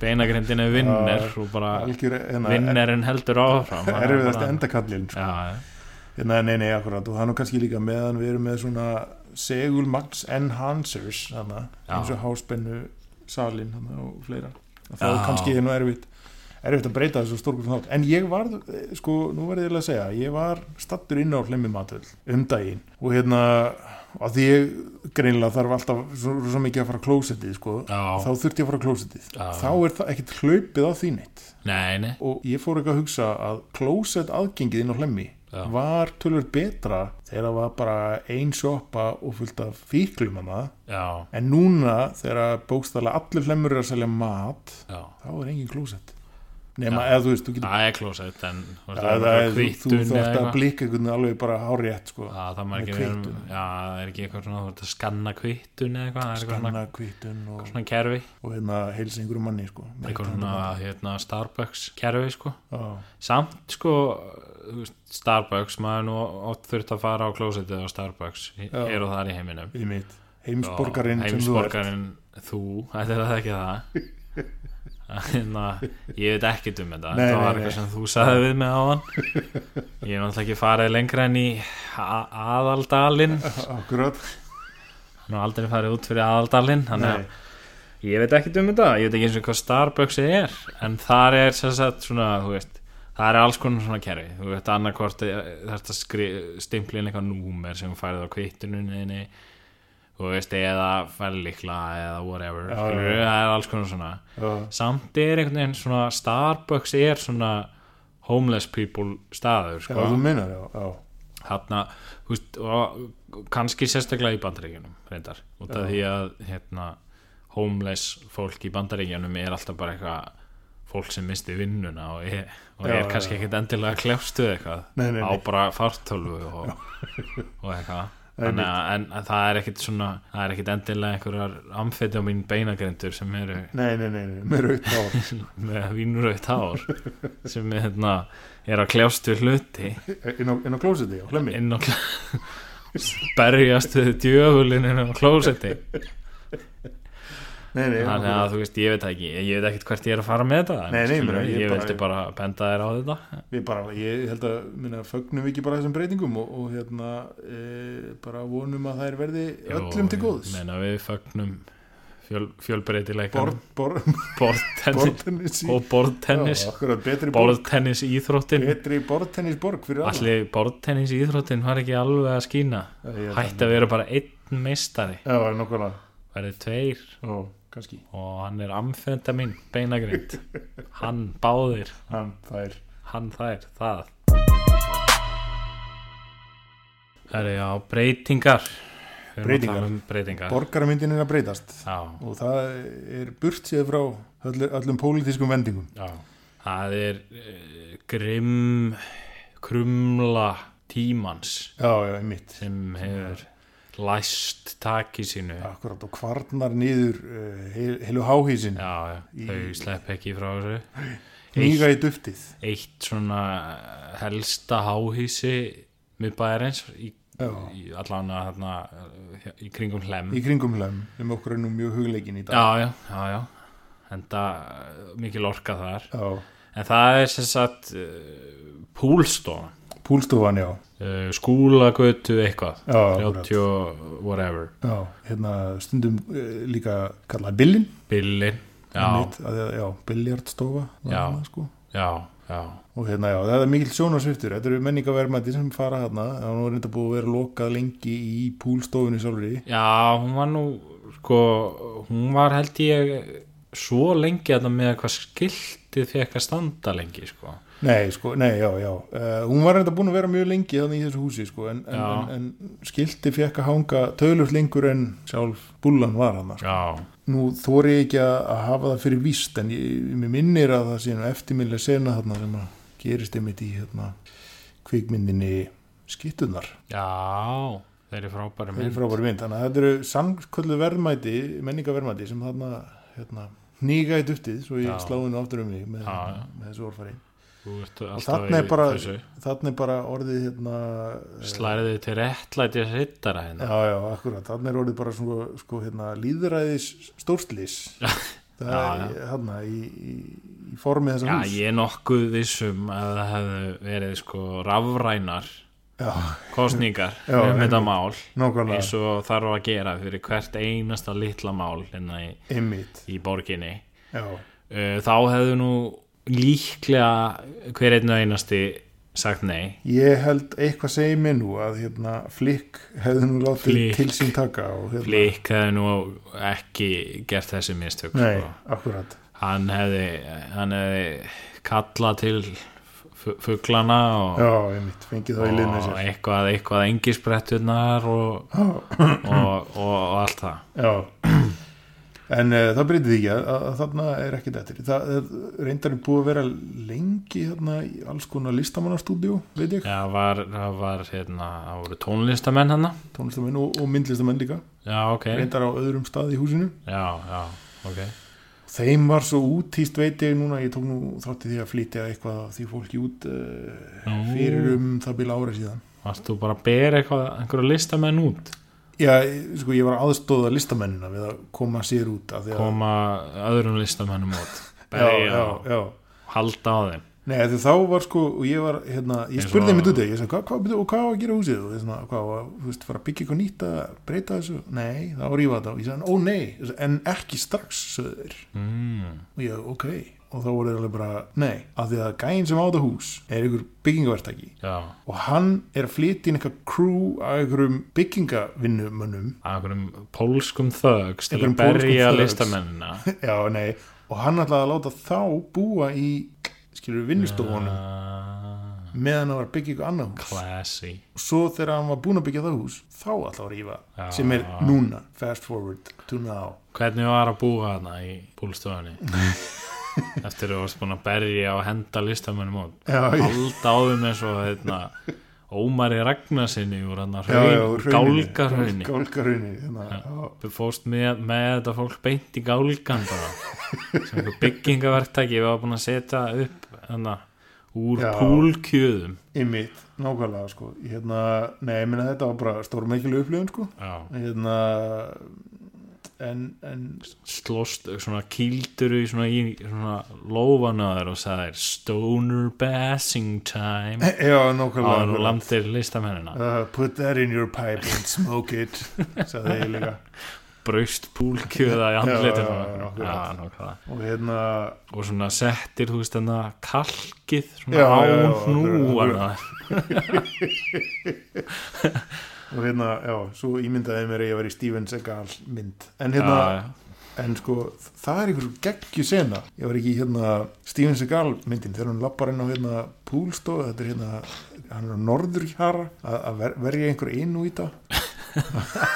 [SPEAKER 1] beinagrindin er vinner og bara
[SPEAKER 2] Algjör, hérna,
[SPEAKER 1] vinnerinn heldur áfram Það er
[SPEAKER 2] erfiðast
[SPEAKER 1] bara-
[SPEAKER 2] endakallin,
[SPEAKER 1] Já,
[SPEAKER 2] sko.
[SPEAKER 1] já.
[SPEAKER 2] Nei, Hérna, nei, nei, akkurat og það er nú kannski líka meðan við erum með svona segulmax enhancers hana,
[SPEAKER 1] Já.
[SPEAKER 2] eins og háspennu salin hana, og fleira og það
[SPEAKER 1] Já.
[SPEAKER 2] er kannski nú erfitt erfitt að breyta þessu stórkur þátt en ég var, eh, sko, nú verði ég eiginlega að segja ég var stattur inn á hlemmi matöld um daginn og hérna að því ég greinilega þarf alltaf svo, svo mikið að fara á klósettið sko,
[SPEAKER 1] Já.
[SPEAKER 2] þá þurfti ég að fara á klósettið
[SPEAKER 1] Já.
[SPEAKER 2] þá er það ekkert hlaupið á því neitt
[SPEAKER 1] nei, nei
[SPEAKER 2] og ég fór ekki að hugsa að klósett aðgengið inn á hlemmi
[SPEAKER 1] Já.
[SPEAKER 2] var tölvöld betra þegar það var bara ein sjoppa og fullt af fíklum hana
[SPEAKER 1] já,
[SPEAKER 2] en núna þegar bókstala allir hlemmur eru að selja mat
[SPEAKER 1] já.
[SPEAKER 2] þá er engin klósett nema eða þú veist þú getur
[SPEAKER 1] það er klósett en þú veist,
[SPEAKER 2] Já,
[SPEAKER 1] það er
[SPEAKER 2] það
[SPEAKER 1] bara
[SPEAKER 2] er- þú, þú
[SPEAKER 1] kvítun eða
[SPEAKER 2] þarft að
[SPEAKER 1] eitthvað.
[SPEAKER 2] blika einhvern veginn alveg bara hárétt sko.
[SPEAKER 1] Já, það má
[SPEAKER 2] með
[SPEAKER 1] ekki vera-
[SPEAKER 2] kvittun.
[SPEAKER 1] já, það er ekki eitthvað svona þú ert að skanna kvítun eða eitthvað það er eitthvað svona-
[SPEAKER 2] skanna kvitun og,
[SPEAKER 1] svona kerfi
[SPEAKER 2] og hérna heilsa einhverju manni sko, með
[SPEAKER 1] eitthvað
[SPEAKER 2] hérna-
[SPEAKER 1] svona hérna, Starbucks kerfi sko
[SPEAKER 2] Já.
[SPEAKER 1] samt sko þú veist, Starbucks, maður er nú oft þurft að fara á klósetið á Starbucks hér og þar í heiminum
[SPEAKER 2] Í mitt. heimsborgarinn
[SPEAKER 1] Og
[SPEAKER 2] sem þú ert
[SPEAKER 1] heimsborgarinn þú, þetta er það ekki það Þannig að hérna, ég veit ekkert um þetta
[SPEAKER 2] Nei,
[SPEAKER 1] þetta
[SPEAKER 2] nei,
[SPEAKER 1] var
[SPEAKER 2] nei.
[SPEAKER 1] eitthvað sem þú sagði við mig á hann ég er náttúrulega ekki farið lengra en í a- aðaldalinn
[SPEAKER 2] akkurat
[SPEAKER 1] hann har aldrei farið út fyrir aðaldalinn þannig að
[SPEAKER 2] Nei.
[SPEAKER 1] Ég veit ekki um þetta, ég veit ekki eins og hvað Starbucks er en þar er sem sagt svona, þú veist það er alls konar svona kerfi þú veit annarkvort þarft að skri, stimpla inn eitthvað númer sem þú færið á kvittuninni þú veist, eða fællikla eða whatever,
[SPEAKER 2] Já,
[SPEAKER 1] skilur,
[SPEAKER 2] já,
[SPEAKER 1] það er alls konar svona
[SPEAKER 2] Já.
[SPEAKER 1] samt er einhvern veginn svona Starbucks er svona homeless people staður,
[SPEAKER 2] Já,
[SPEAKER 1] sko
[SPEAKER 2] þú meinar, já, já.
[SPEAKER 1] þarna, þú veist, og kannski sérstaklega í bandaríkjunum reyndar, út af því að hérna, homeless fólk í bandaríkjunum er alltaf bara eitthvað fólk sem misti vinnuna og er, og
[SPEAKER 2] Já,
[SPEAKER 1] er
[SPEAKER 2] já,
[SPEAKER 1] kannski
[SPEAKER 2] já.
[SPEAKER 1] ekkert endilega klefstuð eitthvað
[SPEAKER 2] Nei, nei, nei.
[SPEAKER 1] á bara fartölvu og, og eitthvað Þannig að en, en það er ekkit svona það er ekkit endilega einhverjar amfetti á mín beinagrindur sem eru
[SPEAKER 2] Nei, nei, nei, nei, með raut á
[SPEAKER 1] með vínurauðt hár sem er, hérna, er að kljást við hluti
[SPEAKER 2] inn á, inn á klósiti á hlemmi
[SPEAKER 1] inn á kl- berjast við djöfulinn inn á klósetti
[SPEAKER 2] Nei, nei,
[SPEAKER 1] þannig að þú veist, ég veit það ekki ég veit ekkert hvert ég er að fara með þetta en
[SPEAKER 2] Nei, nei,
[SPEAKER 1] skilur,
[SPEAKER 2] meina,
[SPEAKER 1] ég,
[SPEAKER 2] ég bara-
[SPEAKER 1] vildi bara benda þér á þetta
[SPEAKER 2] við bara, ég held að minna, fögnum ekki bara þessum breytingum og, og hérna e, bara vonum að þær verði öllum til góðs
[SPEAKER 1] Ég meina, við fögnum fjöl, fjölbreytileikanum
[SPEAKER 2] Borð, borð,
[SPEAKER 1] borðtennis
[SPEAKER 2] borðtennis í-
[SPEAKER 1] og borðtennis
[SPEAKER 2] Já, akkurat, betri borð,
[SPEAKER 1] borðtennis íþróttin
[SPEAKER 2] betri borðtennisborg fyrir alla
[SPEAKER 1] allir borðtennis íþróttin var ekki alveg að skína
[SPEAKER 2] Ég-
[SPEAKER 1] hætti að vera bara einn meistari
[SPEAKER 2] Já, nokkvæmlega,
[SPEAKER 1] verið tveir
[SPEAKER 2] já, kannski
[SPEAKER 1] og hann er amfenda mín beinagrind hann báðir,
[SPEAKER 2] hann, það er
[SPEAKER 1] hann þær, það Það eru já, breytingar Við erum að
[SPEAKER 2] Breytingar.
[SPEAKER 1] tala um breytingar
[SPEAKER 2] borgarmyndin er að breytast
[SPEAKER 1] já,
[SPEAKER 2] og það er burt séð frá öll, öllum pólitískum vendingum
[SPEAKER 1] já. það er uh, grimm krumla tímans
[SPEAKER 2] já, já, mitt
[SPEAKER 1] sem hefur læst taki sínu já,
[SPEAKER 2] akkurat og kvarnar niður uh, heil- heilu háhísin
[SPEAKER 1] já, þau slepp ekki frá þessu
[SPEAKER 2] nýga í duftið
[SPEAKER 1] eitt svona helsta háhísi miðbæðarins í,
[SPEAKER 2] Já.
[SPEAKER 1] í allan að hérna eh, í kringum hlem
[SPEAKER 2] í kringum löm sem okkur er nú mjög hugleikin í dag
[SPEAKER 1] já, já, já, já enda eh, mikil orka þar
[SPEAKER 2] já.
[SPEAKER 1] en það er sem sagt uh, púlstofan
[SPEAKER 2] púlstofan, já,
[SPEAKER 1] uh, skúlagötu eitthvað
[SPEAKER 2] Já, akkurat.
[SPEAKER 1] 30 og whatever
[SPEAKER 2] já hérna stundum uh, líka kallað billin
[SPEAKER 1] billin já,
[SPEAKER 2] einmitt, að, já, billjardstofa var
[SPEAKER 1] Já.
[SPEAKER 2] hana, sko.
[SPEAKER 1] já, já,
[SPEAKER 2] og hérna, já, það er mikil sjónasviftur þetta eru menningaverðmæti sem fara hérna það var nú reynda búið að vera lokað lengi í púlstofunni sjálfri
[SPEAKER 1] já hún var nú sko, hún var held ég svo lengi að það með hvað skiltið fekk að standa lengi sko.
[SPEAKER 2] Nei, sko, nei, já, já uh, hún var reynda búin að vera mjög lengi þannig í þessu húsi, sko, en, en,
[SPEAKER 1] Já.
[SPEAKER 2] en, en skildi fekk að hanga tölur lengur en sjálf búlan var hann sko.
[SPEAKER 1] já,
[SPEAKER 2] nú þóri ég ekki að að hafa það fyrir víst en ég, mér minnir að það sé nú eftirminnileg sena þarna sem að gerist einmitt í hérna, kvikmyndinni skittunar,
[SPEAKER 1] Já, þeir eru frábæri
[SPEAKER 2] það er
[SPEAKER 1] mynd
[SPEAKER 2] frábæri mynd þannig að þetta eru sannköllu verðmæti menningaverðmæti sem þarna hérna, nýga í duftið, svo ég
[SPEAKER 1] Já.
[SPEAKER 2] sláði nú aftur um mig með,
[SPEAKER 1] Já, já.
[SPEAKER 2] með þessu orðfæri
[SPEAKER 1] Þú ert alltaf
[SPEAKER 2] þarna er, bara,
[SPEAKER 1] þessu
[SPEAKER 2] þarna er bara orðið hérna, eh,
[SPEAKER 1] Slæriðu til réttlæti hittara hérna
[SPEAKER 2] já, já, akkurat, þarna er orðið bara svona, sko, hérna, líðræðis stórslis það
[SPEAKER 1] Já,
[SPEAKER 2] er þarna í, í, í formi þessa
[SPEAKER 1] Já,
[SPEAKER 2] hús
[SPEAKER 1] ég er nokkuð vissum að það hefðu verið sko rafrænar
[SPEAKER 2] já,
[SPEAKER 1] kosningar
[SPEAKER 2] Já,
[SPEAKER 1] um þetta mál
[SPEAKER 2] nákvæmlega,
[SPEAKER 1] eins og þarf að gera fyrir hvert einasta litla mál hérna í,
[SPEAKER 2] einmitt
[SPEAKER 1] í borginni
[SPEAKER 2] já,
[SPEAKER 1] Uh, þá hefðu nú líklega hver einn og einasti sagt nei
[SPEAKER 2] ég held eitthvað segi mér nú að hérna, flikk hefði nú látið
[SPEAKER 1] Flick.
[SPEAKER 2] til sín taka og hérna,
[SPEAKER 1] Flik hefðu nú ekki gert þessi mistök
[SPEAKER 2] nei,
[SPEAKER 1] sko.
[SPEAKER 2] akkurat
[SPEAKER 1] hann hefði, hann hefði kallað til fu- fuglana og,
[SPEAKER 2] já, einmitt, fengið það í lið með
[SPEAKER 1] og
[SPEAKER 2] sér
[SPEAKER 1] eitthvað, eitthvað engisbrettunar og, og, og, og allt það
[SPEAKER 2] Já En uh, það breytið ekki að, að, að þarna er ekkert eftir. Það er reyndar er búið að vera lengi þarna í alls konar listamannastúdíu, veit ég,
[SPEAKER 1] Já, var, það var, hérna, það voru tónlistamenn hann
[SPEAKER 2] tónlistamenn og, og myndlistamenn líka,
[SPEAKER 1] Já, ok,
[SPEAKER 2] reyndar á öðrum stað í húsinu.
[SPEAKER 1] já, já, ok
[SPEAKER 2] Þeim var svo útýst, veit ég núna, ég tók nú þátti því að flytja eitthvað af því fólki út uh,
[SPEAKER 1] Nú.
[SPEAKER 2] fyrir um það byrja ára síðan.
[SPEAKER 1] Varst þú bara að bera eitthvað, einhverju listamenn út
[SPEAKER 2] Já, sko, ég var að aðstóða listamennina við að koma sér út af því að...
[SPEAKER 1] koma öðrum listamennum út
[SPEAKER 2] já,
[SPEAKER 1] berja
[SPEAKER 2] já,
[SPEAKER 1] og
[SPEAKER 2] já.
[SPEAKER 1] halda á þeim
[SPEAKER 2] Nei, því þá var sko, og ég var, hérna, ég
[SPEAKER 1] Eins
[SPEAKER 2] spurði
[SPEAKER 1] og-
[SPEAKER 2] mitt út í, ég sagði, hvað, hvað, og hvað á að gera húsið? Og ég svona, hvað, á að, þú veist, fara að byggja eitthvað nýtt að breyta þessu? Nei, þá var ég að það, ég sagði, ó nei, Ég sagði, en ekki strax, söður.
[SPEAKER 1] mm,
[SPEAKER 2] Og ég, ok, og þá voru þeir alveg bara, nei, af því að gæinn sem á þetta hús er ykkur byggingavertaki
[SPEAKER 1] Já,
[SPEAKER 2] og hann er að flytja inn eitthvað crew af einhverjum byggingavinnumönnum,
[SPEAKER 1] að einhverjum pólskum þögs til
[SPEAKER 2] Einhverjum
[SPEAKER 1] að
[SPEAKER 2] pólskum
[SPEAKER 1] berja
[SPEAKER 2] thugs.
[SPEAKER 1] listamennina
[SPEAKER 2] já, nei, og hann ætlaði að láta þá búa í, skilur, vinnustofunum
[SPEAKER 1] Ah,
[SPEAKER 2] meðan hann var að byggja eitthvað annað hús.
[SPEAKER 1] Classy
[SPEAKER 2] svo þegar hann var búinn að byggja það hús þá alltaf að rífa
[SPEAKER 1] Já.
[SPEAKER 2] sem er núna, fast forward to now
[SPEAKER 1] Hvernig var að búa hana í búlstofunni? eftir að þú varst búin að berja og henda listamönnum út
[SPEAKER 2] Já, ég-
[SPEAKER 1] halda á þeim eins og hérna, Ómari Ragnarsinni úr hann að
[SPEAKER 2] hrauninu.
[SPEAKER 1] gálgarhraunni
[SPEAKER 2] Gálgarhrauninu, hérna, já.
[SPEAKER 1] Þú fórst með, með þetta fólk beint í gálgan bara sem einhver byggingaverktæki við varum búin að setja upp hana, úr
[SPEAKER 2] Já.
[SPEAKER 1] púlkjöðum
[SPEAKER 2] Einmitt, nákvæmlega sko hérna, Nei, ég minna þetta var bara stórmækileg upplifun sko
[SPEAKER 1] Já.
[SPEAKER 2] hérna, en, en
[SPEAKER 1] slóst svona kýldur í svona, í, svona lófanaður og sagðir stoner bassing time
[SPEAKER 2] Já,
[SPEAKER 1] áður
[SPEAKER 2] nákvæmlega
[SPEAKER 1] og
[SPEAKER 2] nákvæmlega.
[SPEAKER 1] landir listamennina
[SPEAKER 2] uh, Put that in your pipe and smoke it sagði ég líka
[SPEAKER 1] braust púlkjöða í andlitinu
[SPEAKER 2] já, já, akkurat.
[SPEAKER 1] Já, nákvæmlega.
[SPEAKER 2] og hérna
[SPEAKER 1] og svona settir þú veist þarna kalkið
[SPEAKER 2] Já,
[SPEAKER 1] svona
[SPEAKER 2] já,
[SPEAKER 1] á
[SPEAKER 2] já, akkurat,
[SPEAKER 1] hnúana
[SPEAKER 2] og hérna, já, svo ímyndaði ég mér að ég var í Steven Seagal mynd en hérna,
[SPEAKER 1] Já,
[SPEAKER 2] en sko það er einhver geggju sena ég var ekki í hérna Steven Seagal myndin þegar hann lappar inn á hérna púlstofu þetta er hérna, hann er á norðurhjara að að ver, verja einhver einu í það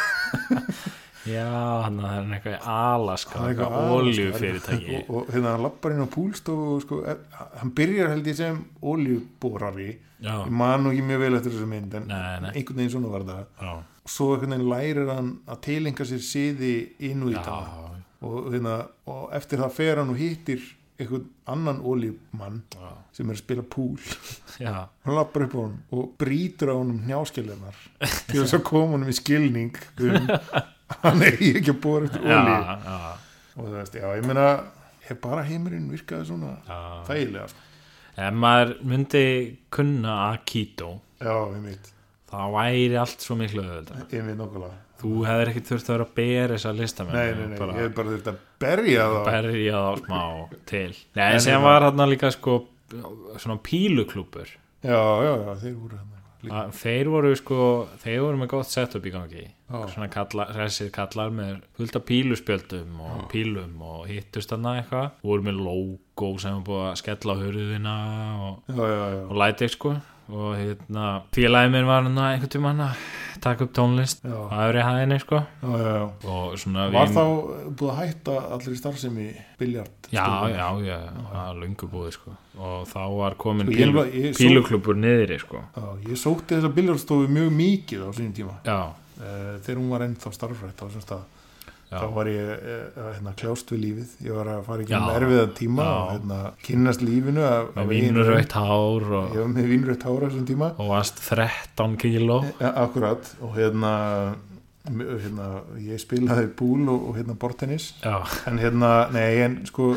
[SPEAKER 1] já, hann það er eitthvað í Alaska,
[SPEAKER 2] Það er eitthvað
[SPEAKER 1] eitthvað
[SPEAKER 2] aðeins,
[SPEAKER 1] oljufyrirtæki
[SPEAKER 2] og, og hérna hann lappar inn á púlstofu og sko, er, hann byrjar held ég sem oljuborari
[SPEAKER 1] Já.
[SPEAKER 2] ég man nú ekki mjög vel eftir þessu mynd en
[SPEAKER 1] Nei, nei.
[SPEAKER 2] einhvern veginn svona var það
[SPEAKER 1] Já,
[SPEAKER 2] og svo einhvern veginn lærir hann að tilenga sér siði innvita
[SPEAKER 1] Já.
[SPEAKER 2] og, hérna, og eftir það fer hann og hittir einhvern annan oljumann sem er að spila púl
[SPEAKER 1] já,
[SPEAKER 2] hann lappar upp á hann og brýtur á hann um hnjáskjælunar til þess að koma hann í skilning um að hann eigi ekki að bóra eftir
[SPEAKER 1] já,
[SPEAKER 2] olju
[SPEAKER 1] já.
[SPEAKER 2] og þú veist, já, ég meina hef bara heimurinn virkaði svona þægilega, sko.
[SPEAKER 1] Ef maður myndi kunna Akito,
[SPEAKER 2] já, ég mitt
[SPEAKER 1] þá væri allt svo miklu auðvitað.
[SPEAKER 2] ég mitt nokkulega,
[SPEAKER 1] Þú hefðir ekki þurft að vera að bera þessa listamenn.
[SPEAKER 2] nei, nei, nei,
[SPEAKER 1] bara
[SPEAKER 2] ég hef bara þurft að berja þá,
[SPEAKER 1] berja þá smá til. Nei, en sem var hann líka sko svona píluklúpur.
[SPEAKER 2] já, já, já, þeir voru hann já,
[SPEAKER 1] Að Þeir voru sko, þeir voru með gott setup í gangi. Svona kallar, þessir kallar með fullt af píluspjöldum og pílum og hittust hann eitthvað. Voru með logo sem var búið að skella á hurðina og
[SPEAKER 2] já, já,
[SPEAKER 1] og Lightix sko og hérna félagið minn var hérna einhvern tíma hann að taka upp tónlist
[SPEAKER 2] Já.
[SPEAKER 1] á öfri hæðinni sko
[SPEAKER 2] já, já, já.
[SPEAKER 1] og svona
[SPEAKER 2] var
[SPEAKER 1] vin-
[SPEAKER 2] þá búið að hætta allir í starfsemi biljart
[SPEAKER 1] já, já, já, já, löngu búið sko og þá var komin
[SPEAKER 2] Sko, ég
[SPEAKER 1] pílu,
[SPEAKER 2] var- ég- svo-
[SPEAKER 1] píluklubur niðri sko
[SPEAKER 2] já, ég sótti þessa biljartstofu mjög mikið á sínum tíma
[SPEAKER 1] já,
[SPEAKER 2] Eh, þegar hún var ennþá starfrætt á þessum stað
[SPEAKER 1] Já.
[SPEAKER 2] þá var ég eh, að, hérna, kljást við lífið ég var að fara í gegnum
[SPEAKER 1] Já.
[SPEAKER 2] erfiða tíma
[SPEAKER 1] Já.
[SPEAKER 2] og hérna, kynnast lífinu af- af
[SPEAKER 1] með
[SPEAKER 2] eigin raun.
[SPEAKER 1] vínurautt hár og,
[SPEAKER 2] ég var með vínrögt hára þessum tíma
[SPEAKER 1] og varst 13 kíló
[SPEAKER 2] ja, akkurat og hérna, m- hérna ég spilaði búl og, og hérna bortennis
[SPEAKER 1] já,
[SPEAKER 2] en hérna, nei en sko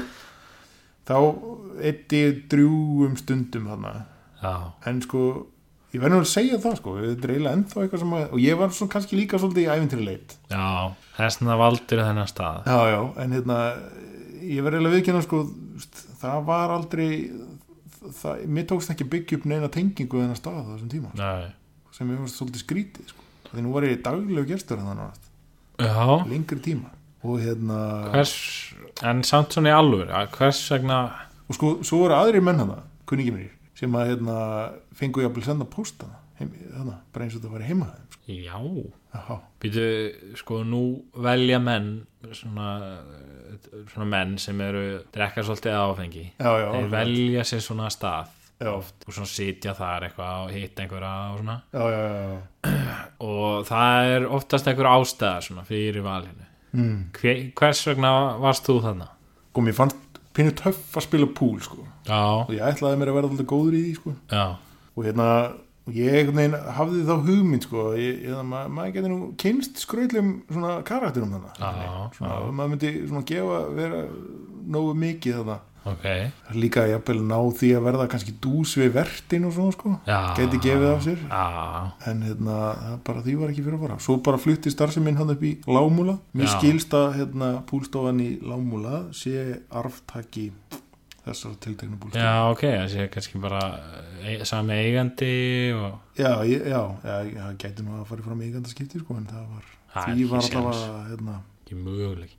[SPEAKER 2] þá eitti ég drjúum stundum þarna
[SPEAKER 1] já,
[SPEAKER 2] en sko ég verður að segja það sko þetta er eiginlega ennþá eitthvað sem að og ég var svo kannski líka svolítið í æfintirleit
[SPEAKER 1] já þessna valdur þennan stað
[SPEAKER 2] já já, en hérna ég verður eiginlega viðkynna sko það var aldrei það, mér tókst ekki að byggja upp neina tengingu þennan stað á þessum tíma sko,
[SPEAKER 1] Nei.
[SPEAKER 2] sem ég varst svolítið skrítið sko. því nú var ég daglegu gestur hann nátt,
[SPEAKER 1] já,
[SPEAKER 2] lengri tíma og hérna
[SPEAKER 1] hvers en samt svona í alvör, hvers vegna
[SPEAKER 2] og sko, svo voru aðrir menn hann kunningi mér sem að hérna fengu ég að bli senda posta þannig, bara eins og þetta var heima hjá þeim, sko.
[SPEAKER 1] já
[SPEAKER 2] Jaha.
[SPEAKER 1] Býtu, sko, nú velja menn svona, svona menn sem eru drekka svolítið áfengi
[SPEAKER 2] já, já,
[SPEAKER 1] þeir
[SPEAKER 2] já,
[SPEAKER 1] velja sér svona stað
[SPEAKER 2] já,
[SPEAKER 1] og svona sitja þar eitthvað og hitta einhverja og svona
[SPEAKER 2] já, já, já.
[SPEAKER 1] og það er oftast einhver ástæða svona fyrir valinu mm. Hver, hvers vegna varst þú þarna?
[SPEAKER 2] sko, mér fannst pínu töff að spila púl sko. og
[SPEAKER 1] Já,
[SPEAKER 2] ég ætlaði mér að vera alltaf góður í því sko.
[SPEAKER 1] já,
[SPEAKER 2] og hérna og ég einhvern veginn hafði þá hugmynd sko, að ég, ég, ma maður getur nú kynst skröldum svona karakterum þannig
[SPEAKER 1] Já,
[SPEAKER 2] svona, maður myndi svona gefa vera nógu mikið þannig
[SPEAKER 1] ok
[SPEAKER 2] líka jafnvel ná því að verða kannski dús við vertin og svona sko
[SPEAKER 1] Já.
[SPEAKER 2] gæti gefið af sér
[SPEAKER 1] Já,
[SPEAKER 2] en hérna, það bara því var ekki fyrir að fara svo bara flutti starfseminn hann upp í Lámúla mér
[SPEAKER 1] Já.
[SPEAKER 2] skilst að hérna, púlstofan í Lámúla sé arftaki þessar tiltekna púlstofa
[SPEAKER 1] já, ok það sé kannski bara e sami eigandi og
[SPEAKER 2] Já, ég, já, já, ég- það gæti nú að fara fram í eigandaskipti sko, en það var,
[SPEAKER 1] Ha,
[SPEAKER 2] því
[SPEAKER 1] ekki
[SPEAKER 2] var
[SPEAKER 1] séns.
[SPEAKER 2] alltaf að, hérna,
[SPEAKER 1] ekki möguleik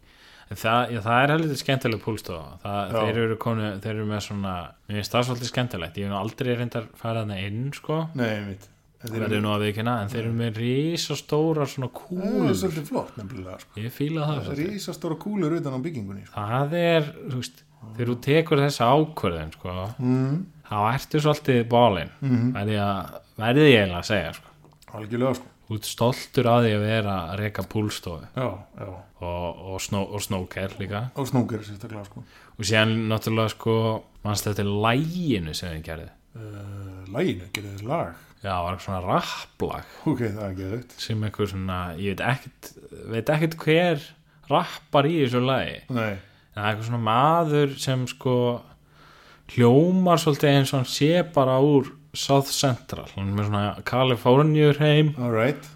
[SPEAKER 1] en það, já, það er heldur skemmtileg púlstofa það,
[SPEAKER 2] Já.
[SPEAKER 1] þeir, eru konu, þeir eru með svona mér finnst það svolítið skemmtilegt ég hef nú aldrei reyndar farið hana inn sko
[SPEAKER 2] nei, mitt. Það
[SPEAKER 1] verður nú að vikina en þeir eru með risastóra svona
[SPEAKER 2] Það er
[SPEAKER 1] kúlur
[SPEAKER 2] svolítið flott, nefnilega, sko.
[SPEAKER 1] ég fíla það svolítið
[SPEAKER 2] Rísastóra kúlur utan á byggingunni, sko.
[SPEAKER 1] það er, þú veist þegar þú tekur þessa ákvörðin sko,
[SPEAKER 2] mm,
[SPEAKER 1] þá ertu svolítið bólin mm -hmm. verði, að, verði ég eiginlega að segja sko.
[SPEAKER 2] algjörlega sko
[SPEAKER 1] þú ert stoltur að því að vera að reka púlstofu
[SPEAKER 2] já, já,
[SPEAKER 1] og, og, snó, og snóker líka
[SPEAKER 2] og snúker sérstaklega sko
[SPEAKER 1] og síðan náttúrulega sko mannst þetta er læginu sem þið gerði
[SPEAKER 2] uh, læginu, getur þið lag
[SPEAKER 1] já, það var svona rapplag
[SPEAKER 2] ok, það er geðugt
[SPEAKER 1] sem eitthvað svona, ég veit ekkert veit ekkert hver rappar í þessu lagi
[SPEAKER 2] nei,
[SPEAKER 1] en það er eitthvað svona maður sem sko hljómar svolítið eins og hann sé bara úr South Central, hann er með svona Kaliforniur heim
[SPEAKER 2] alright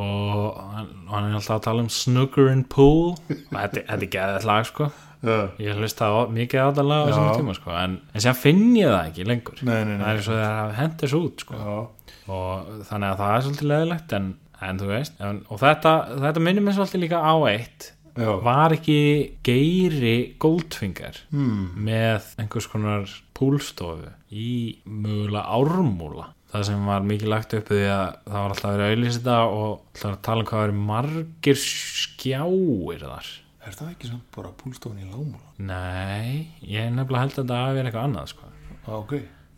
[SPEAKER 1] og hann, hann er alltaf að tala um Snooker and Pool og þetta, þetta er geðið lag sko
[SPEAKER 2] uh,
[SPEAKER 1] ég hlusta á, mikið á þetta lag á
[SPEAKER 2] Já.
[SPEAKER 1] þessum tíma sko en, en sem finn ég það ekki lengur
[SPEAKER 2] Nei, nei, nei.
[SPEAKER 1] það er svo það hafa hendur svo út sko
[SPEAKER 2] já,
[SPEAKER 1] og þannig að það er svolítið leðilegt en, en þú veist en, og þetta, þetta minnir mér svolítið líka á eitt
[SPEAKER 2] já,
[SPEAKER 1] var ekki Geiri Goldfinger
[SPEAKER 2] Hmm.
[SPEAKER 1] með einhvers konar púlstofu í mögulega ármúla það sem var mikið lagt upp því að það var alltaf verið að auðlýsa þetta og alltaf að tala um hvað verið margir skjáir þar
[SPEAKER 2] er það ekki samt bara púlstofan í lámúla
[SPEAKER 1] nei, ég nefnilega held að þetta hafi verið eitthvað annað sko.
[SPEAKER 2] ah, ok,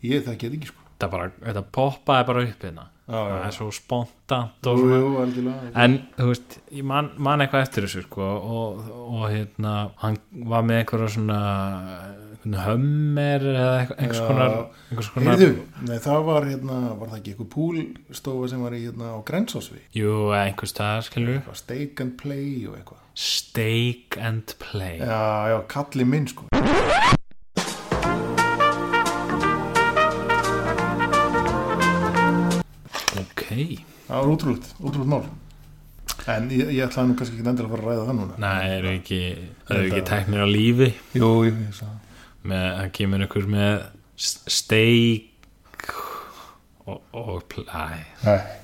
[SPEAKER 2] ég það get ekki sko
[SPEAKER 1] þetta, bara, þetta poppaði bara upp hérna
[SPEAKER 2] Já, já,
[SPEAKER 1] það
[SPEAKER 2] já.
[SPEAKER 1] er svo spontant og
[SPEAKER 2] Jú,
[SPEAKER 1] svona
[SPEAKER 2] jú, algjörlega
[SPEAKER 1] en þú veist, ég man, man eitthvað eftir þessu sko, og, og hérna hann var með einhverja svona einhvern hömmer eða eitthvað- einhvers
[SPEAKER 2] Já.
[SPEAKER 1] konar, einhvers konar
[SPEAKER 2] Heyrðu, nei, það var hérna, var það ekki eitthvað púlstofa sem var í hérna á Grensásvi
[SPEAKER 1] jú, eða einhvers staðar skilur við.
[SPEAKER 2] eitthvað steak and play og eitthvað
[SPEAKER 1] steak and play
[SPEAKER 2] já, já, kalli minn sko
[SPEAKER 1] ok,
[SPEAKER 2] það var útrúlegt, útrúlegt mál en ég, ég ætlaði nú kannski ekki endilega að fara að ræða það núna
[SPEAKER 1] næ, eru ekki eru ekki
[SPEAKER 2] Þetta-
[SPEAKER 1] teknir á lífi
[SPEAKER 2] jú, jú, ég sagði það.
[SPEAKER 1] með að kemur ykkur með s- steak og, og play
[SPEAKER 2] nei,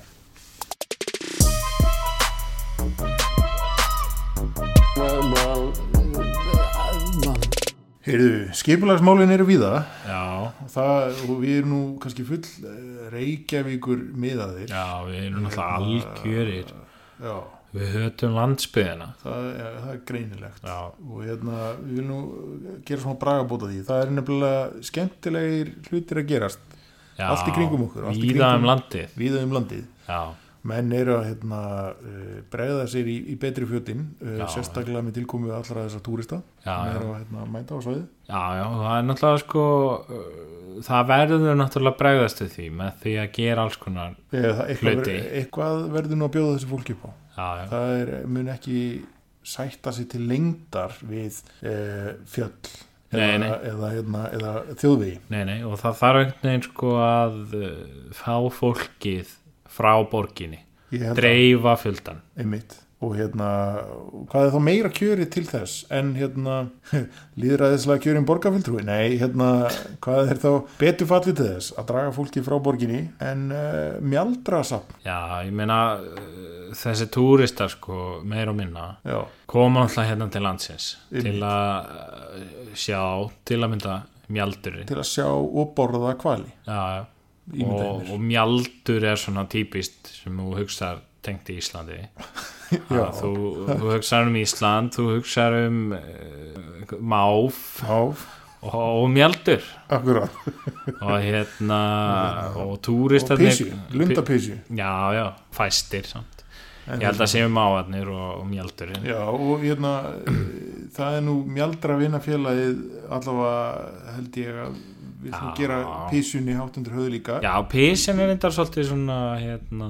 [SPEAKER 3] Well, well, uh, well,
[SPEAKER 2] heyrðu, skipulagsmálin eru víða
[SPEAKER 1] já,
[SPEAKER 2] og það, og við erum nú kannski full eh, Reykjavíkur miðaðir
[SPEAKER 1] já, við erum náttúrulega
[SPEAKER 2] Hérna.
[SPEAKER 1] algjörir
[SPEAKER 2] já,
[SPEAKER 1] við hötum landsbyðina
[SPEAKER 2] það, já, það er greinilegt
[SPEAKER 1] Já.
[SPEAKER 2] og hérna, við viljum nú eh, gera svona bragabóta því, það er nefnilega skemmtilegir hlutir að gerast
[SPEAKER 1] já,
[SPEAKER 2] Allt í kringum okkur, allt í
[SPEAKER 1] víða
[SPEAKER 2] kringum-
[SPEAKER 1] um landið
[SPEAKER 2] víða um landið
[SPEAKER 1] já,
[SPEAKER 2] menn eru að hérna, eh, bregða sér í, í betri fjötin uh,
[SPEAKER 1] Já.
[SPEAKER 2] sérstaklega með tilkomu allra þessar túrista
[SPEAKER 1] Já,
[SPEAKER 2] Menn
[SPEAKER 1] já.
[SPEAKER 2] eru að hérna, mæta á svæði
[SPEAKER 1] já, já, það er náttúrulega sko uh, það verður náttúrulega bregðast við því með því að gera alls konar
[SPEAKER 2] Eða, það- eitthvað,
[SPEAKER 1] Hluti.
[SPEAKER 2] ver, eitthvað verður nú að bjóða þessu fólki upp á
[SPEAKER 1] já, já,
[SPEAKER 2] það er, mun ekki sætta sér til lengdar við uh, fjöll
[SPEAKER 1] Nei, nei.
[SPEAKER 2] eða, eða, hérna, eða þjóðvegi
[SPEAKER 1] nei, nei, og það þarf einhvern veginn sko að uh, fá fólkið frá borginni
[SPEAKER 2] Ég held að-
[SPEAKER 1] dreifa fjöldan
[SPEAKER 2] einmitt og hérna, hvað er þá meira kjöri til þess en hérna líðræðislega kjörin borgarfylgtrúi nei, hérna, hvað er þá betur fallið til þess að draga fólki frá borginni en uh, mjaldra samt
[SPEAKER 1] já, ég meina uh, þessi túristar sko, meir og minna
[SPEAKER 2] já,
[SPEAKER 1] koma náttúrulega hérna til landsins til
[SPEAKER 2] Einmitt.
[SPEAKER 1] að uh, sjá, til að mynda mjaldurinn
[SPEAKER 2] til að sjá og borða kvali
[SPEAKER 1] já, já
[SPEAKER 2] Ímyndaði
[SPEAKER 1] og, og mjaldur er svona típist sem þú hugsar tengt í Íslandi
[SPEAKER 2] já,
[SPEAKER 1] Að þú, þú hugsar um Ísland þú hugsar um uh, máf
[SPEAKER 2] já,
[SPEAKER 1] og, og mjaldur
[SPEAKER 2] akkurat
[SPEAKER 1] og hérna og
[SPEAKER 2] og
[SPEAKER 1] túristarnir
[SPEAKER 2] písju, lundapísju
[SPEAKER 1] já, já, fæstir samt ég held
[SPEAKER 2] hérna-
[SPEAKER 1] að séum máarnir og, og mjaldurinn
[SPEAKER 2] já, og hérna eh, það er nú mjaldra vinafélagið allavega held ég að við þum
[SPEAKER 1] Já.
[SPEAKER 2] gera písjunni hátt undir höðu líka
[SPEAKER 1] Já, písjan er reyndar svolítið svona hérna,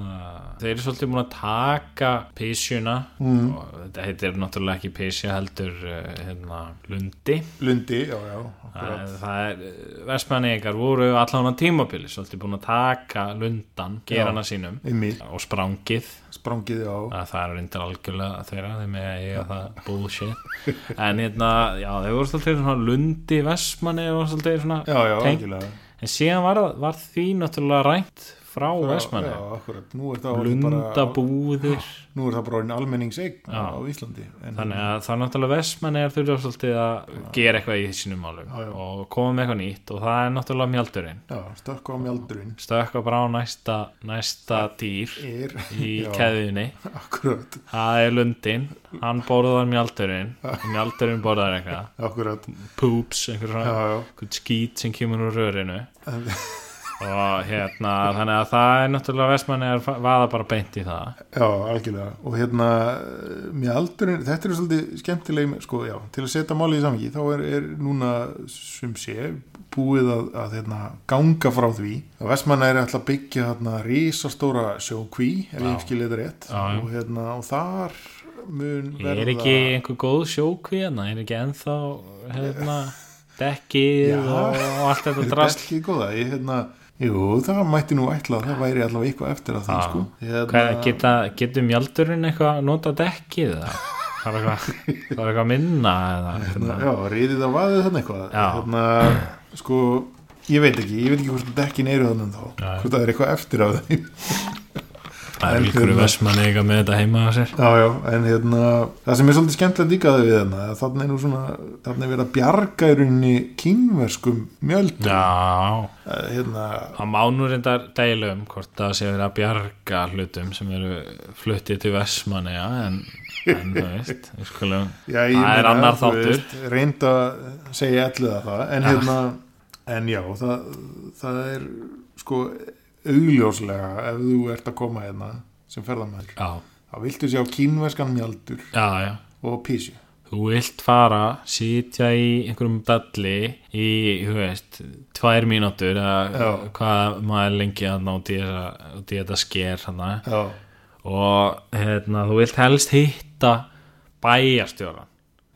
[SPEAKER 1] þeir eru svolítið búin að taka písjuna mm. og þetta heitir náttúrulega ekki písja heldur eh, hérna, lundi
[SPEAKER 2] lundi, já, já, akkurat
[SPEAKER 1] það, það er, versmanningar voru allan á tímabili svolítið búin að taka lundan,
[SPEAKER 2] Já.
[SPEAKER 1] gera hana sínum
[SPEAKER 2] einmitt,
[SPEAKER 1] og sprangið
[SPEAKER 2] sprangið á
[SPEAKER 1] að það er reyndar algjörlega þeirra þeim með að eiga það bullshit en hérna, já, þeir voru svolítið svona lundi versmanni og svolítið svona
[SPEAKER 2] Já, já,
[SPEAKER 1] tengt
[SPEAKER 2] algjörlega
[SPEAKER 1] En síðan var, var því náttúrulega rænt frá Vestmanni
[SPEAKER 2] Já, akkurat, nú er það orðið bara,
[SPEAKER 1] lundabúðir
[SPEAKER 2] nú er það bara orðin almenningseign
[SPEAKER 1] Já.
[SPEAKER 2] á Íslandi en,
[SPEAKER 1] þannig að það er náttúrulega Vestmanni er þurfa svolítið að gera eitthvað í sínum málum
[SPEAKER 2] Já, já.
[SPEAKER 1] og koma með eitthvað nýtt og það er náttúrulega mjaldurinn
[SPEAKER 2] Já, stökku á mjaldurinn
[SPEAKER 1] stökka bara á næsta, næsta dýr
[SPEAKER 2] er,
[SPEAKER 1] í
[SPEAKER 2] já,
[SPEAKER 1] keðunni
[SPEAKER 2] akkurat,
[SPEAKER 1] það er lundin, hann borðar mjaldurinn mjaldurinn borðar eitthvað
[SPEAKER 2] akkurat
[SPEAKER 1] poops, einhver
[SPEAKER 2] já,
[SPEAKER 1] svona
[SPEAKER 2] já,
[SPEAKER 1] einhver skít sem kemur úr rörinu
[SPEAKER 2] En-
[SPEAKER 1] og hérna þannig að það er náttúrulega Vestmanni er vaða bara beint í það
[SPEAKER 2] já, algjörlega og hérna, mjaldurinn þetta er svolítið skemmtileg, sko, já til að setja málið í samhengi, þá er, er núna sem sé, búið að, að hérna, ganga frá því að Vestmanna er alltaf að byggja hérna risastóra sjókví, ef ég skil þetta rétt
[SPEAKER 1] Já, já.
[SPEAKER 2] og hérna, og þar mun
[SPEAKER 1] er
[SPEAKER 2] verða
[SPEAKER 1] ekki einhver góð sjókví hérna, er ekki ennþá hérna, dekkið
[SPEAKER 2] Já.
[SPEAKER 1] og, og allt þetta
[SPEAKER 2] Þetta er
[SPEAKER 1] drast
[SPEAKER 2] ekki góða ég, hérna, Jú, það mætti nú ætla að það væri allavega eitthvað eftir að það
[SPEAKER 1] Já.
[SPEAKER 2] sko.
[SPEAKER 1] Hvað, geta, getur mjaldurinn eitthvað að nota dekkið eða? það er eitthvað, það er eitthvað minna eða,
[SPEAKER 2] hérna,
[SPEAKER 1] hérna.
[SPEAKER 2] Já, riðið að vaðið þannig eitthvað
[SPEAKER 1] Já.
[SPEAKER 2] hérna, Sko, ég veit ekki Ég veit ekki hvort dekkin eru þannig þá
[SPEAKER 1] Nei.
[SPEAKER 2] Hvort það er eitthvað eftir af þeim
[SPEAKER 1] það er
[SPEAKER 2] En
[SPEAKER 1] ykkur
[SPEAKER 2] hérna-
[SPEAKER 1] versmann eitthvað með þetta heima á sér
[SPEAKER 2] Já, já, en hérna Það sem er svolítið skemmtilegt líka við hérna Þannig er nú svona, þannig er verið að bjarga í rauninni kínverskum mjöld
[SPEAKER 1] já,
[SPEAKER 2] Hérna,
[SPEAKER 1] það má nú reyndar deila um hvort það sé verið að bjarga hlutum sem eru fluttið til versmann en, en þú veist við skulum,
[SPEAKER 2] Já, ég
[SPEAKER 1] það er
[SPEAKER 2] meina,
[SPEAKER 1] annar
[SPEAKER 2] þú
[SPEAKER 1] þáttur
[SPEAKER 2] veist, reynd að segja allir að það en, hérna, en já, það, það er sko augljóslega ef þú ert að koma hérna sem ferðamæður
[SPEAKER 1] já,
[SPEAKER 2] þá viltu sjá kínverskan mjaldur
[SPEAKER 1] já, já
[SPEAKER 2] og písi
[SPEAKER 1] þú vilt fara, sitja í einhverjum dalli í, þú veist, tvær mínútur eða
[SPEAKER 2] Já.
[SPEAKER 1] hvað maður er lengi að ná út í þessa- út í þetta sker hana.
[SPEAKER 2] Já,
[SPEAKER 1] og hérna, þú vilt helst hitta bæjarstjóran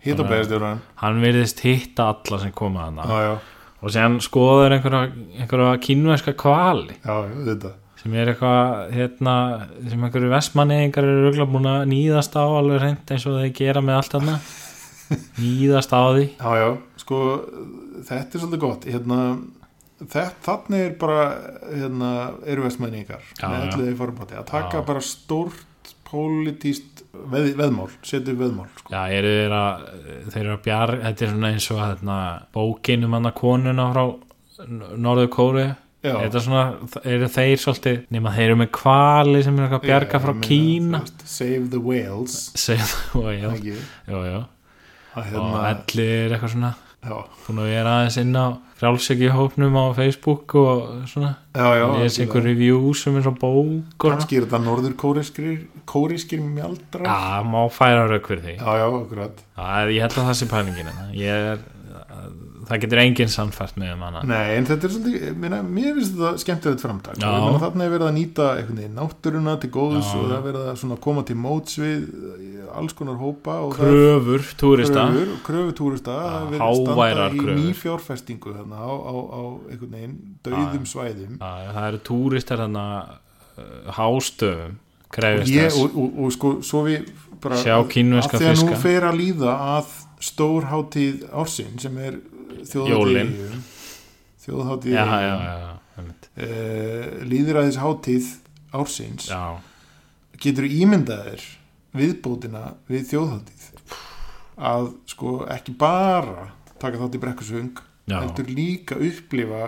[SPEAKER 2] hitt og beðastjóran
[SPEAKER 1] hann virðist hitta alla sem koma hana
[SPEAKER 2] Já, já,
[SPEAKER 1] og séðan skoður einhverja, einhverja kínverska kvali
[SPEAKER 2] já, þetta
[SPEAKER 1] sem er eitthvað hérna, sem einhverju vestmanningar eru röglega búin að nýðast á alveg reynd eins og þeir gera með allt hana nýðast á því
[SPEAKER 2] Já, já, sko þetta er svolítið gott hérna, þetta, þannig er bara hérna, eru vestmæningar
[SPEAKER 1] Já,
[SPEAKER 2] með
[SPEAKER 1] já.
[SPEAKER 2] allir þeir formati að taka
[SPEAKER 1] Já.
[SPEAKER 2] bara stórt pólitíst veð, veðmál, setja upp veðmál sko.
[SPEAKER 1] Já, eru þeir að, þeir eru að bjar, þetta er svona eins og hérna, bókin um hann að konuna frá Norður Kóru
[SPEAKER 2] Já,
[SPEAKER 1] Þetta er svona, eru þeir svolítið, nema þeir eru með kvali sem er eitthvað að bjarga
[SPEAKER 2] Já,
[SPEAKER 1] frá
[SPEAKER 2] ég meina,
[SPEAKER 1] Kína
[SPEAKER 2] þú veist, Save the whales
[SPEAKER 1] segðu þú og ég,
[SPEAKER 2] ekki,
[SPEAKER 1] jú, jú
[SPEAKER 2] að
[SPEAKER 1] og
[SPEAKER 2] hérna,
[SPEAKER 1] elli er eitthvað svona
[SPEAKER 2] já,
[SPEAKER 1] búin að vera aðeins inn á frjálsegi hópnum á Facebook og svona
[SPEAKER 2] já, já
[SPEAKER 1] les
[SPEAKER 2] algjörlega.
[SPEAKER 1] einhver review sem er svo bók og
[SPEAKER 2] kannski er þetta norður kóriskir kóriskir mjaldrar
[SPEAKER 1] Já, má færa rauk fyrir því
[SPEAKER 2] já, já, akkurat
[SPEAKER 1] Það er, ég held að það sé pælingin hérna. Ég er, það getur enginn sannfært með um hana
[SPEAKER 2] Nei, en þetta er svolítið, minna, mér finnst þetta skemmtilegt framtak
[SPEAKER 1] Já.
[SPEAKER 2] Þannig að þarna er verið að nýta einhvern veginn náttúruna til góðs
[SPEAKER 1] Já.
[SPEAKER 2] og það er verið að svona koma til móts við eh, alls konar hópa og það er
[SPEAKER 1] kröfur túrista
[SPEAKER 2] kröfur, kröfur túrista
[SPEAKER 1] Já,
[SPEAKER 2] það er verið að standa
[SPEAKER 1] háværar
[SPEAKER 2] í
[SPEAKER 1] kröfur.
[SPEAKER 2] nýfjárfestingu þarna á, á, á einhvern veginn dauðum svæðum
[SPEAKER 1] Já, það eru túristar hann að hástöfum krefist
[SPEAKER 2] ég,
[SPEAKER 1] þess
[SPEAKER 2] og, og, og sko, svo við bara,
[SPEAKER 1] Sjá kínverska
[SPEAKER 2] af því að
[SPEAKER 1] fiska.
[SPEAKER 2] nú fer að líða að stórhátíð ársin sem er
[SPEAKER 1] Jólin.
[SPEAKER 2] þjóðhátíð þjóðhátíð
[SPEAKER 1] já, já, já, já, einmitt.
[SPEAKER 2] uh, líðræðis hátíð ársins
[SPEAKER 1] já,
[SPEAKER 2] getur ímyndaðir viðbótina við þjóðhátíð að sko ekki bara taka þátt í brekkusvöng
[SPEAKER 1] Já.
[SPEAKER 2] heldur líka upplifa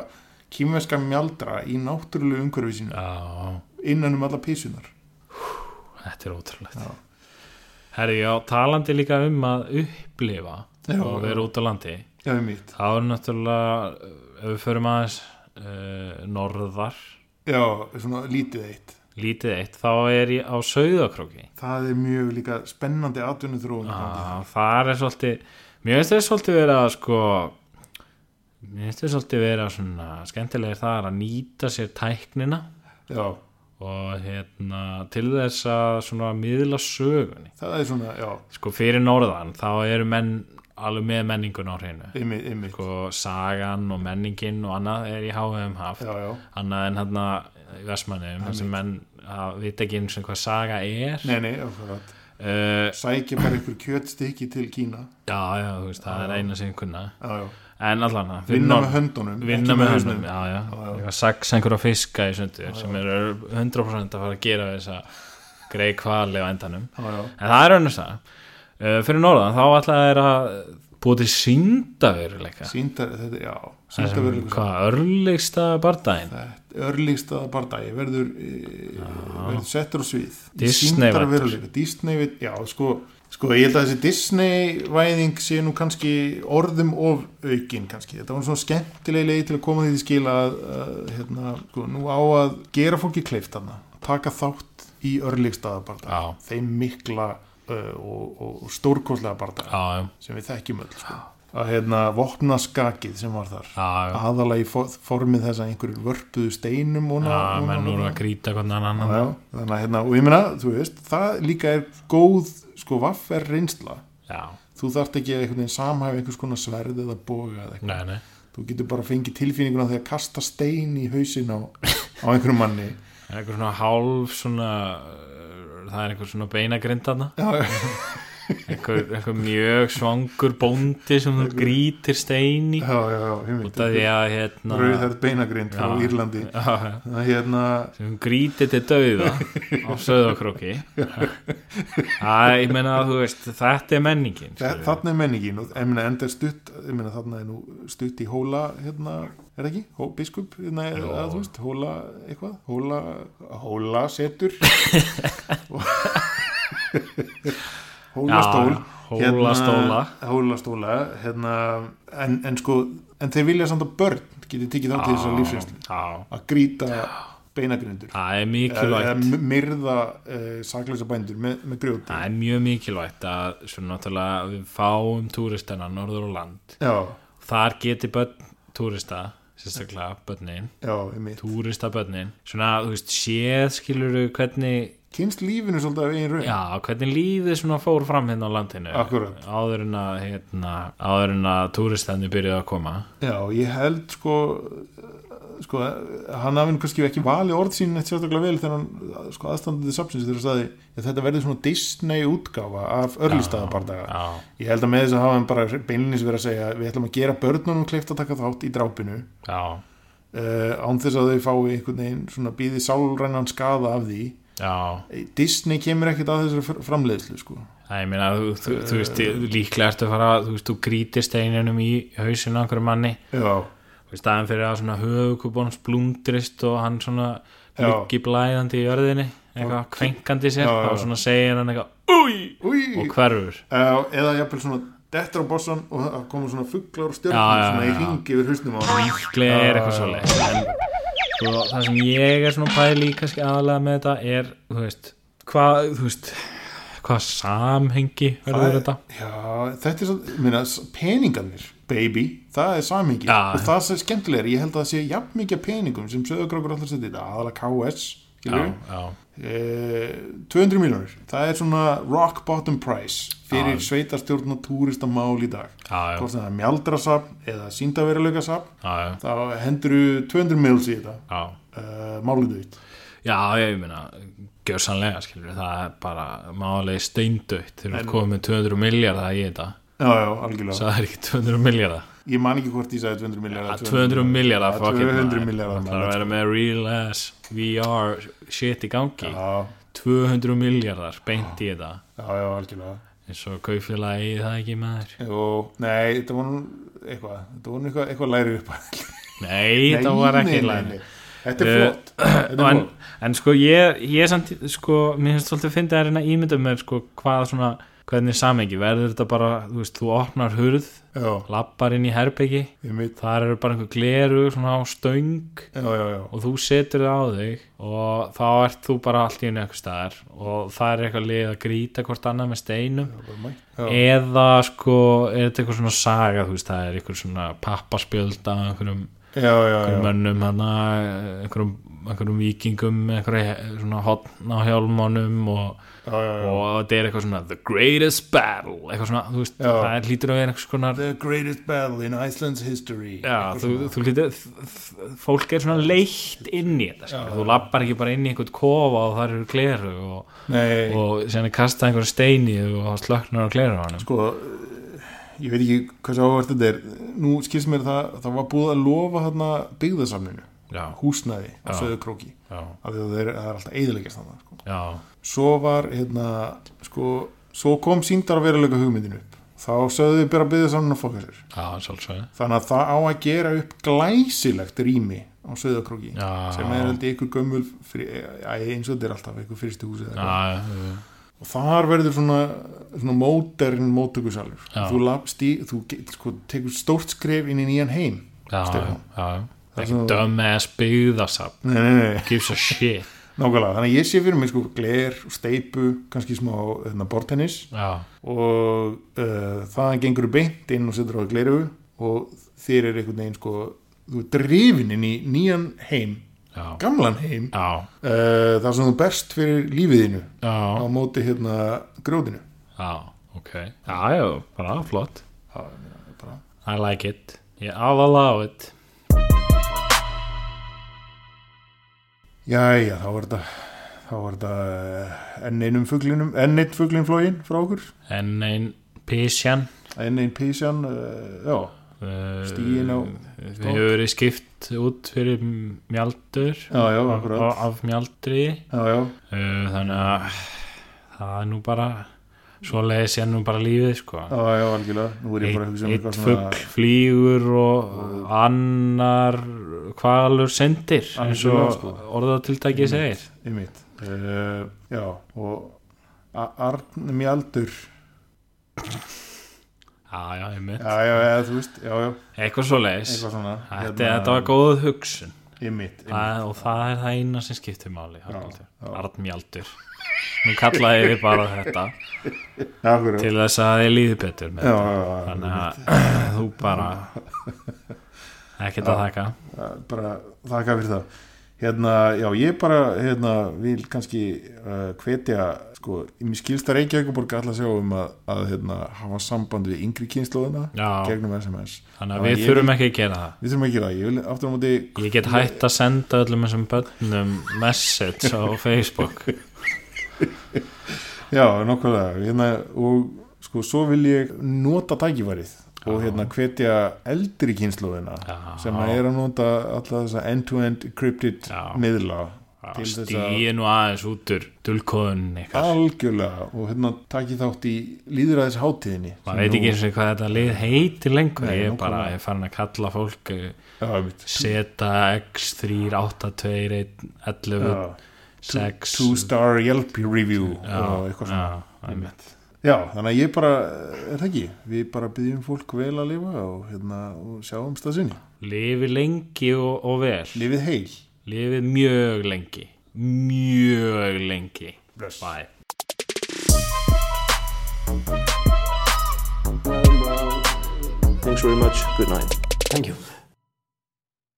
[SPEAKER 2] kýmverska mjaldra í náttúrulegu umhverfi sínu
[SPEAKER 1] já,
[SPEAKER 2] innan um alla písunar
[SPEAKER 1] þetta er ótrúlegt
[SPEAKER 2] Já.
[SPEAKER 1] herri, já, talandi líka um að upplifa
[SPEAKER 2] Já,
[SPEAKER 1] og vera út á landi
[SPEAKER 2] já, mitt
[SPEAKER 1] þá er náttúrulega ef við förum aðeins uh, norðar,
[SPEAKER 2] já, svona lítið eitt
[SPEAKER 1] lítið eitt þá er ég á Sauðakróki
[SPEAKER 2] það er mjög líka spennandi atvinnu þróun
[SPEAKER 1] Já, það er svolítið mér finnst þess svolítið vera sko mér finnst þess svolítið vera svona skemmtilegir það er að nýta sér tæknina
[SPEAKER 2] já,
[SPEAKER 1] og hérna til þess að svona miðla sögunni
[SPEAKER 2] það er svona, já,
[SPEAKER 1] sko fyrir norðan þá eru menn alveg með menningun á hreinu
[SPEAKER 2] ymmið, ymmið
[SPEAKER 1] sko sagan og menningin og annað er í háfum haft
[SPEAKER 2] já, já,
[SPEAKER 1] annað en hérna í Vestmanniðum þar sem menn að vita ekki eins og hvað saga er
[SPEAKER 2] nei, nei, akkurat
[SPEAKER 1] uh,
[SPEAKER 2] sækja bara ykkur kjötstykki til Kína
[SPEAKER 1] já já þú veist það er eina sem kunna
[SPEAKER 2] já, já,
[SPEAKER 1] en allan að
[SPEAKER 2] vinna með höndunum
[SPEAKER 1] vinna
[SPEAKER 2] ekki
[SPEAKER 1] með
[SPEAKER 2] hausnum.
[SPEAKER 1] höndum, já, já, eitthvað sex einhverja fiska í sundur sem eru 100% að fara að gera þessa grei kvali á endanum
[SPEAKER 2] Já, já.
[SPEAKER 1] en það er önnur það uh, fyrir norðan þá alltaf er að búið til síndaveruleika
[SPEAKER 2] Sýndar, þetta, já,
[SPEAKER 1] Það sem,
[SPEAKER 2] sýndarveruleika
[SPEAKER 1] hvað, örlegsta bardaginn
[SPEAKER 2] örlíksta bardagi verður, e, verður settur á svið
[SPEAKER 1] Disney væddur.
[SPEAKER 2] sýndarveruleika Disney við, já, sko, sko ég held að þessi Disney væðing sé nú kannski orðum of aukin kannski, þetta var svona skemmtileg leið til að koma því til skila að, að hérna, sko, nú á að gera fólki kleift hana, taka þátt í örlíkstaða
[SPEAKER 1] Já.
[SPEAKER 2] bardaga þeim mikla uh, og, og, og stórkoslega bardaga
[SPEAKER 1] já, já,
[SPEAKER 2] sem við þekkjum öll sko. að hérna vopna skakið sem var þar
[SPEAKER 1] já, já,
[SPEAKER 2] aðalega í fo- formið þess að einhverjur vörpuðu steinum og
[SPEAKER 1] já menn nú eru að grýta hvernig annan
[SPEAKER 2] já, þannig að hérna, og ég meina, þú veist það líka er góð, sko, vaffer reynsla,
[SPEAKER 1] já,
[SPEAKER 2] þú þarft ekki að einhvern veginn samhæfa einhvers konar sverð eða boga eða eitthvað,
[SPEAKER 1] nei, nei
[SPEAKER 2] þú getur bara að fengi tilfýninguna þegar að kasta stein í hausin á, á einhverjum manni
[SPEAKER 1] einhver svona hálf svona uh, það er einhver svona beinagrind þarna
[SPEAKER 2] já,
[SPEAKER 1] einhver, einhver mjög svangur bóndi sem þú grítir stein í
[SPEAKER 2] já, já,
[SPEAKER 1] út af því
[SPEAKER 2] heimild
[SPEAKER 1] að hérna
[SPEAKER 2] rauðhært beinagrind frá
[SPEAKER 1] Já.
[SPEAKER 2] Írlandi
[SPEAKER 1] Já, já.
[SPEAKER 2] þannig að hérna,
[SPEAKER 1] sem hún grítið til dauða á söðakróki það, ég meina að þú veist þetta er menningin
[SPEAKER 2] þa- þarna er menningin og ég meina, enda er stutt ég meina, þarna er nú stutt í hóla hérna, er það ekki, Hó, biskup hérna, er,
[SPEAKER 1] Jó.
[SPEAKER 2] að, þú veist, hóla eitthvað hóla, hóla setur hóla stól Hérna,
[SPEAKER 1] Já, hólastóla.
[SPEAKER 2] hóla stóla hérna, en, en sko en þeir vilja samt að börn geti tekið þátt í þessar lífsreynslu
[SPEAKER 1] já,
[SPEAKER 2] að grýta beinagrindur
[SPEAKER 1] það er
[SPEAKER 2] eða
[SPEAKER 1] mikilvægt
[SPEAKER 2] eða myrða uh, sakleisa bændur með, með grjóti
[SPEAKER 1] það er mjög mikilvægt að svona náttúrulega við fáum túristana norður og land
[SPEAKER 2] já,
[SPEAKER 1] þar geti börn túrista sérstaklega börnin,
[SPEAKER 2] já, ég mitt
[SPEAKER 1] túrista börnin svona, þú veist, séð skilur hvernig
[SPEAKER 2] kynst lífinu svolítið af einn raun
[SPEAKER 1] Já, hvernig lífið svona fór fram hérna á landinu
[SPEAKER 2] Akkúrat.
[SPEAKER 1] áður en að, hérna, áður en að túristandi byrjuði að koma
[SPEAKER 2] Já, ég held sko sko, hann hafði nú kannski ekki valið orð sín eitt sérstaklega vel þegar hann sko aðstandandi sapsins þegar hann sagði að þetta verði svona Disney útgáfa af örlistadabardaga.
[SPEAKER 1] Já,
[SPEAKER 2] Ég held að með þess að hafa hann bara beinlinis verið að segja við ætlum að gera börnunum kleift að taka þátt í drápinu
[SPEAKER 1] já,
[SPEAKER 2] uh, án þess að þau fái einhvern veginn svona býði sálrænan skaða af því
[SPEAKER 1] já
[SPEAKER 2] Disney kemur ekkert að þessari fr- framleiðslu sko.
[SPEAKER 1] Það ég meina, þú, þú, þú veist, ég- líklega ertu að fara þú veist, þú grítir steininum í hausinu á einhverju manni,
[SPEAKER 2] Já,
[SPEAKER 1] þú veist, aðeins fyrir að svona höfukubóns blúndrist og hann svona
[SPEAKER 2] Já.
[SPEAKER 1] liggi blæðandi í jörðinni eitthvað kvenkandi sér
[SPEAKER 2] Já, já, já.
[SPEAKER 1] og svona segir hann eitthvað Új!
[SPEAKER 2] új
[SPEAKER 1] og hverfur
[SPEAKER 2] Já, Eh, eða jafnvel svona dettur á bossan og það komur svona fugglar og stjörnum
[SPEAKER 1] Já, já,
[SPEAKER 2] svona í
[SPEAKER 1] já.
[SPEAKER 2] ringi yfir hausnum á hann
[SPEAKER 1] líklega er eitthvað svo leið en sko, það sem ég er svona pæli kannski aðalega með þetta er þú veist, hvað þú veist, hvað samhengi verður þetta
[SPEAKER 2] Já, þetta er svo, minna, peningarnir baby, það er samhengi
[SPEAKER 1] Já.
[SPEAKER 2] og það sem er skemmtilegur, ég held að það sé jafn mikið af peningum sem söðugrákur allar setja í þetta aðalega KS,
[SPEAKER 1] já,
[SPEAKER 2] skilur
[SPEAKER 1] já,
[SPEAKER 2] eh, 200 miljonir, það er svona rock bottom price fyrir sveitarstjórn og túristamál í dag
[SPEAKER 1] Já, já.
[SPEAKER 2] hvort sem það er mjaldrasafn eða síndaveruleikasafn
[SPEAKER 1] já, já,
[SPEAKER 2] þá henduru 200 mils í þetta
[SPEAKER 1] já.
[SPEAKER 2] uh, málið þitt
[SPEAKER 1] já ég meina gjörsanlega, skilur, það er bara málega steindautt þegar við komum með 200 miljardar í þetta
[SPEAKER 2] Já, já, algjörlega
[SPEAKER 1] það er ekki 200 miljardar
[SPEAKER 2] Ég man ekki hvort ég sagði 200 miljardar
[SPEAKER 1] Að 200 miljardar
[SPEAKER 2] Já, 200
[SPEAKER 1] það
[SPEAKER 2] milljarðar,
[SPEAKER 1] er að
[SPEAKER 2] maður.
[SPEAKER 1] vera með real ass VR shit í gangi
[SPEAKER 2] Já,
[SPEAKER 1] 200 miljardar beint í þetta
[SPEAKER 2] já, já, algjörlega
[SPEAKER 1] eins og kaupfélagi eigi það ekki maður
[SPEAKER 2] Og, nei, þetta var nú eitthvað Þetta var nú eitthvað, eitthvað læri upp
[SPEAKER 1] nei, þetta var ekki læn
[SPEAKER 2] Þetta er
[SPEAKER 1] Eh,
[SPEAKER 2] flott Þetta er
[SPEAKER 1] en,
[SPEAKER 2] flott
[SPEAKER 1] en sko ég, ég samt sko, mér finnst svolítið að finna að reyna að ímynda mér sko, hvað svona, hvernig samengi verður þetta bara, þú veist, þú opnar hurð
[SPEAKER 2] Já,
[SPEAKER 1] lappar inn í herbyggi
[SPEAKER 2] ég mitt
[SPEAKER 1] þar eru bara einhver gleru svona á stöng
[SPEAKER 2] Já, já, já,
[SPEAKER 1] og þú setur það á þig og þá ert þú bara allt í einu einhver staðar og það er eitthvað lið að grýta hvort annað með steinum
[SPEAKER 2] það var mætt Já,
[SPEAKER 1] eða sko, er þetta eitthvað svona saga þú veist, það er eitthvað svona pappaspjöld af einhverjum
[SPEAKER 2] já, já,
[SPEAKER 1] einhverjum
[SPEAKER 2] já.
[SPEAKER 1] mönnum hana, einhverjum, einhverjum vikingum, einhverjum svona hotn á hjálmánum og,
[SPEAKER 2] já, já, já.
[SPEAKER 1] og þetta er eitthvað svona the greatest battle, eitthvað svona þú veist,
[SPEAKER 2] Já.
[SPEAKER 1] það er lítur að vera einhvers konar
[SPEAKER 2] The greatest battle in Iceland's history
[SPEAKER 1] já, þú, þú lítur þ- þ- fólk er svona leitt inn í þetta skilur. þú lappar ekki bara inn í einhvern kofa og þar eru gleru og,
[SPEAKER 2] Nei,
[SPEAKER 1] og sérna kasta einhverjum steini og þá slöknar á gleru á hann
[SPEAKER 2] sko ég veit ekki hversu áhvert þetta er nú skilst mér það, það var búið að lofa þarna byggðasamninu,
[SPEAKER 1] já,
[SPEAKER 2] húsnæði á
[SPEAKER 1] Já.
[SPEAKER 2] söðu króki,
[SPEAKER 1] já,
[SPEAKER 2] af því að það er, það er alltaf eðilegast þannig, sko.
[SPEAKER 1] já,
[SPEAKER 2] svo var, hérna, sko svo kom síndar að veruleika hugmyndinu upp þá sögðu við bara byggðasamninu að fokka sér
[SPEAKER 1] já, sjálfsögðu
[SPEAKER 2] þannig að það á að gera upp glæsilegt rými á söðakróki
[SPEAKER 1] Já.
[SPEAKER 2] sem er heldur ykkur gömul fyrir, æ, eins og þetta er alltaf ykkur fyrstu húsi
[SPEAKER 1] Já, já, já,
[SPEAKER 2] og þar verður svona, svona mótern móttökusalur
[SPEAKER 1] Já.
[SPEAKER 2] þú, lapst í, þú get, sko, tekur stórt skref inn í nýjan heim
[SPEAKER 1] já, já,
[SPEAKER 2] Stefán.
[SPEAKER 1] já.
[SPEAKER 2] Það er
[SPEAKER 1] ekki
[SPEAKER 2] svona-
[SPEAKER 1] dumbass byggðasafn
[SPEAKER 2] nei, nei, nei,
[SPEAKER 1] gives a shit
[SPEAKER 2] nákvæmlega, þannig að ég sé fyrir mig sko, gler, steipu, kannski smá hérna, bortennis
[SPEAKER 1] já,
[SPEAKER 2] og uh, þaðan gengur beint inn og setur á gleru og þér er einhvern veginn sko, þú er drifin inn í nýjan heim
[SPEAKER 1] já,
[SPEAKER 2] gamlan heim
[SPEAKER 1] já,
[SPEAKER 2] uh, þar sem þú berst fyrir lífiðinu á
[SPEAKER 1] já,
[SPEAKER 2] móti hérna grjótinu
[SPEAKER 1] já, ok já, já, bara flott
[SPEAKER 2] það er bara
[SPEAKER 1] I like it, yeah, I'll allow it
[SPEAKER 2] Jæja, þá var þetta þá var þetta eh, enn einum fuglinum enn einn fuglin flógin frá okkur
[SPEAKER 1] enn ein písjan
[SPEAKER 2] enn einn písjan uh, já, Stigin á
[SPEAKER 1] við
[SPEAKER 2] stopp.
[SPEAKER 1] hefur verið skipt út fyrir mjaldur
[SPEAKER 2] já, já,
[SPEAKER 1] af,
[SPEAKER 2] akkurat
[SPEAKER 1] af- af mjaldri
[SPEAKER 2] já, já,
[SPEAKER 1] uh, þannig að það er nú bara svo leiðis er nú bara lífið sko
[SPEAKER 2] já, já, algjörlega nú er ég bara að hugsa um
[SPEAKER 1] eitt
[SPEAKER 2] eitthvað
[SPEAKER 1] fugg
[SPEAKER 2] svona
[SPEAKER 1] flýgur og annar hvalur sendir eins
[SPEAKER 2] Algjörlega,
[SPEAKER 1] og
[SPEAKER 2] sko.
[SPEAKER 1] orðatiltæki segir
[SPEAKER 2] einmitt uh, já, og A- Arn Mjaldur já,
[SPEAKER 1] já, já, einmitt.
[SPEAKER 2] já, já, þú veist, já, já,
[SPEAKER 1] eitthvað svo leiðis
[SPEAKER 2] eitthvað svona hérna,
[SPEAKER 1] þetta, þetta var góð hugsun
[SPEAKER 2] einmitt, einmitt.
[SPEAKER 1] það, og það er það eina sem skiptir máli Haraldur.
[SPEAKER 2] já.
[SPEAKER 1] Arnmjaldur nú kallaði ég bara þetta
[SPEAKER 2] Já, akkurat.
[SPEAKER 1] til þess að ég líði betur með
[SPEAKER 2] já,
[SPEAKER 1] þetta.
[SPEAKER 2] já, já,
[SPEAKER 1] þannig að þú bara ekkert að þakka
[SPEAKER 2] Það- bara þakka fyrir það hérna, já, ég bara hérna, vil kannski uh, hvetja sko, mér skilst að Reykjavíkuborg ætla að sjá um að, að hérna, hafa samband við yngri kynnslóðina
[SPEAKER 1] Já.
[SPEAKER 2] gegnum SMS
[SPEAKER 1] þannig
[SPEAKER 2] Já,
[SPEAKER 1] að við
[SPEAKER 2] ég
[SPEAKER 1] þurfum ekki að gera það
[SPEAKER 2] Við þurfum ekki það, ég vil aftur á móti
[SPEAKER 1] Ég get hægt að senda öllum þessum börnum message á Facebook
[SPEAKER 2] Já, nokkulega hérna, og sko, svo vil ég nota tækifærið og hérna hvetja eldri kynnslóðina
[SPEAKER 1] Já.
[SPEAKER 2] sem að er að nota alltaf þessa end-to-end encrypted
[SPEAKER 1] Já.
[SPEAKER 2] miðla til þess að
[SPEAKER 1] Stíði nú aðeins út úr dulkóðun ykkar
[SPEAKER 2] algjörlega og hérna taki þátt í líðræðis hátíðinni
[SPEAKER 1] maður veit ekki eins og hvað þetta lið heitir lengur
[SPEAKER 2] Nei,
[SPEAKER 1] ég er
[SPEAKER 2] nákvæmlega.
[SPEAKER 1] bara, ég er farin að kalla fólk eh,
[SPEAKER 2] já, einmitt.
[SPEAKER 1] seta x 3, 8, 2, 1 11,
[SPEAKER 2] já,
[SPEAKER 1] 6
[SPEAKER 2] two star Yelp review og eitthvað svona
[SPEAKER 1] já, einmitt.
[SPEAKER 2] já, þannig að ég bara, er það ekki við bara byggjum fólk vel að lifa og, hérna, og sjáum staðsynni
[SPEAKER 1] lifi lengi og, og vel
[SPEAKER 2] lifið heil
[SPEAKER 1] lifið mjög lengi mjög lengi Bless. bye
[SPEAKER 4] Thanks very much. Good night.
[SPEAKER 3] Thank you.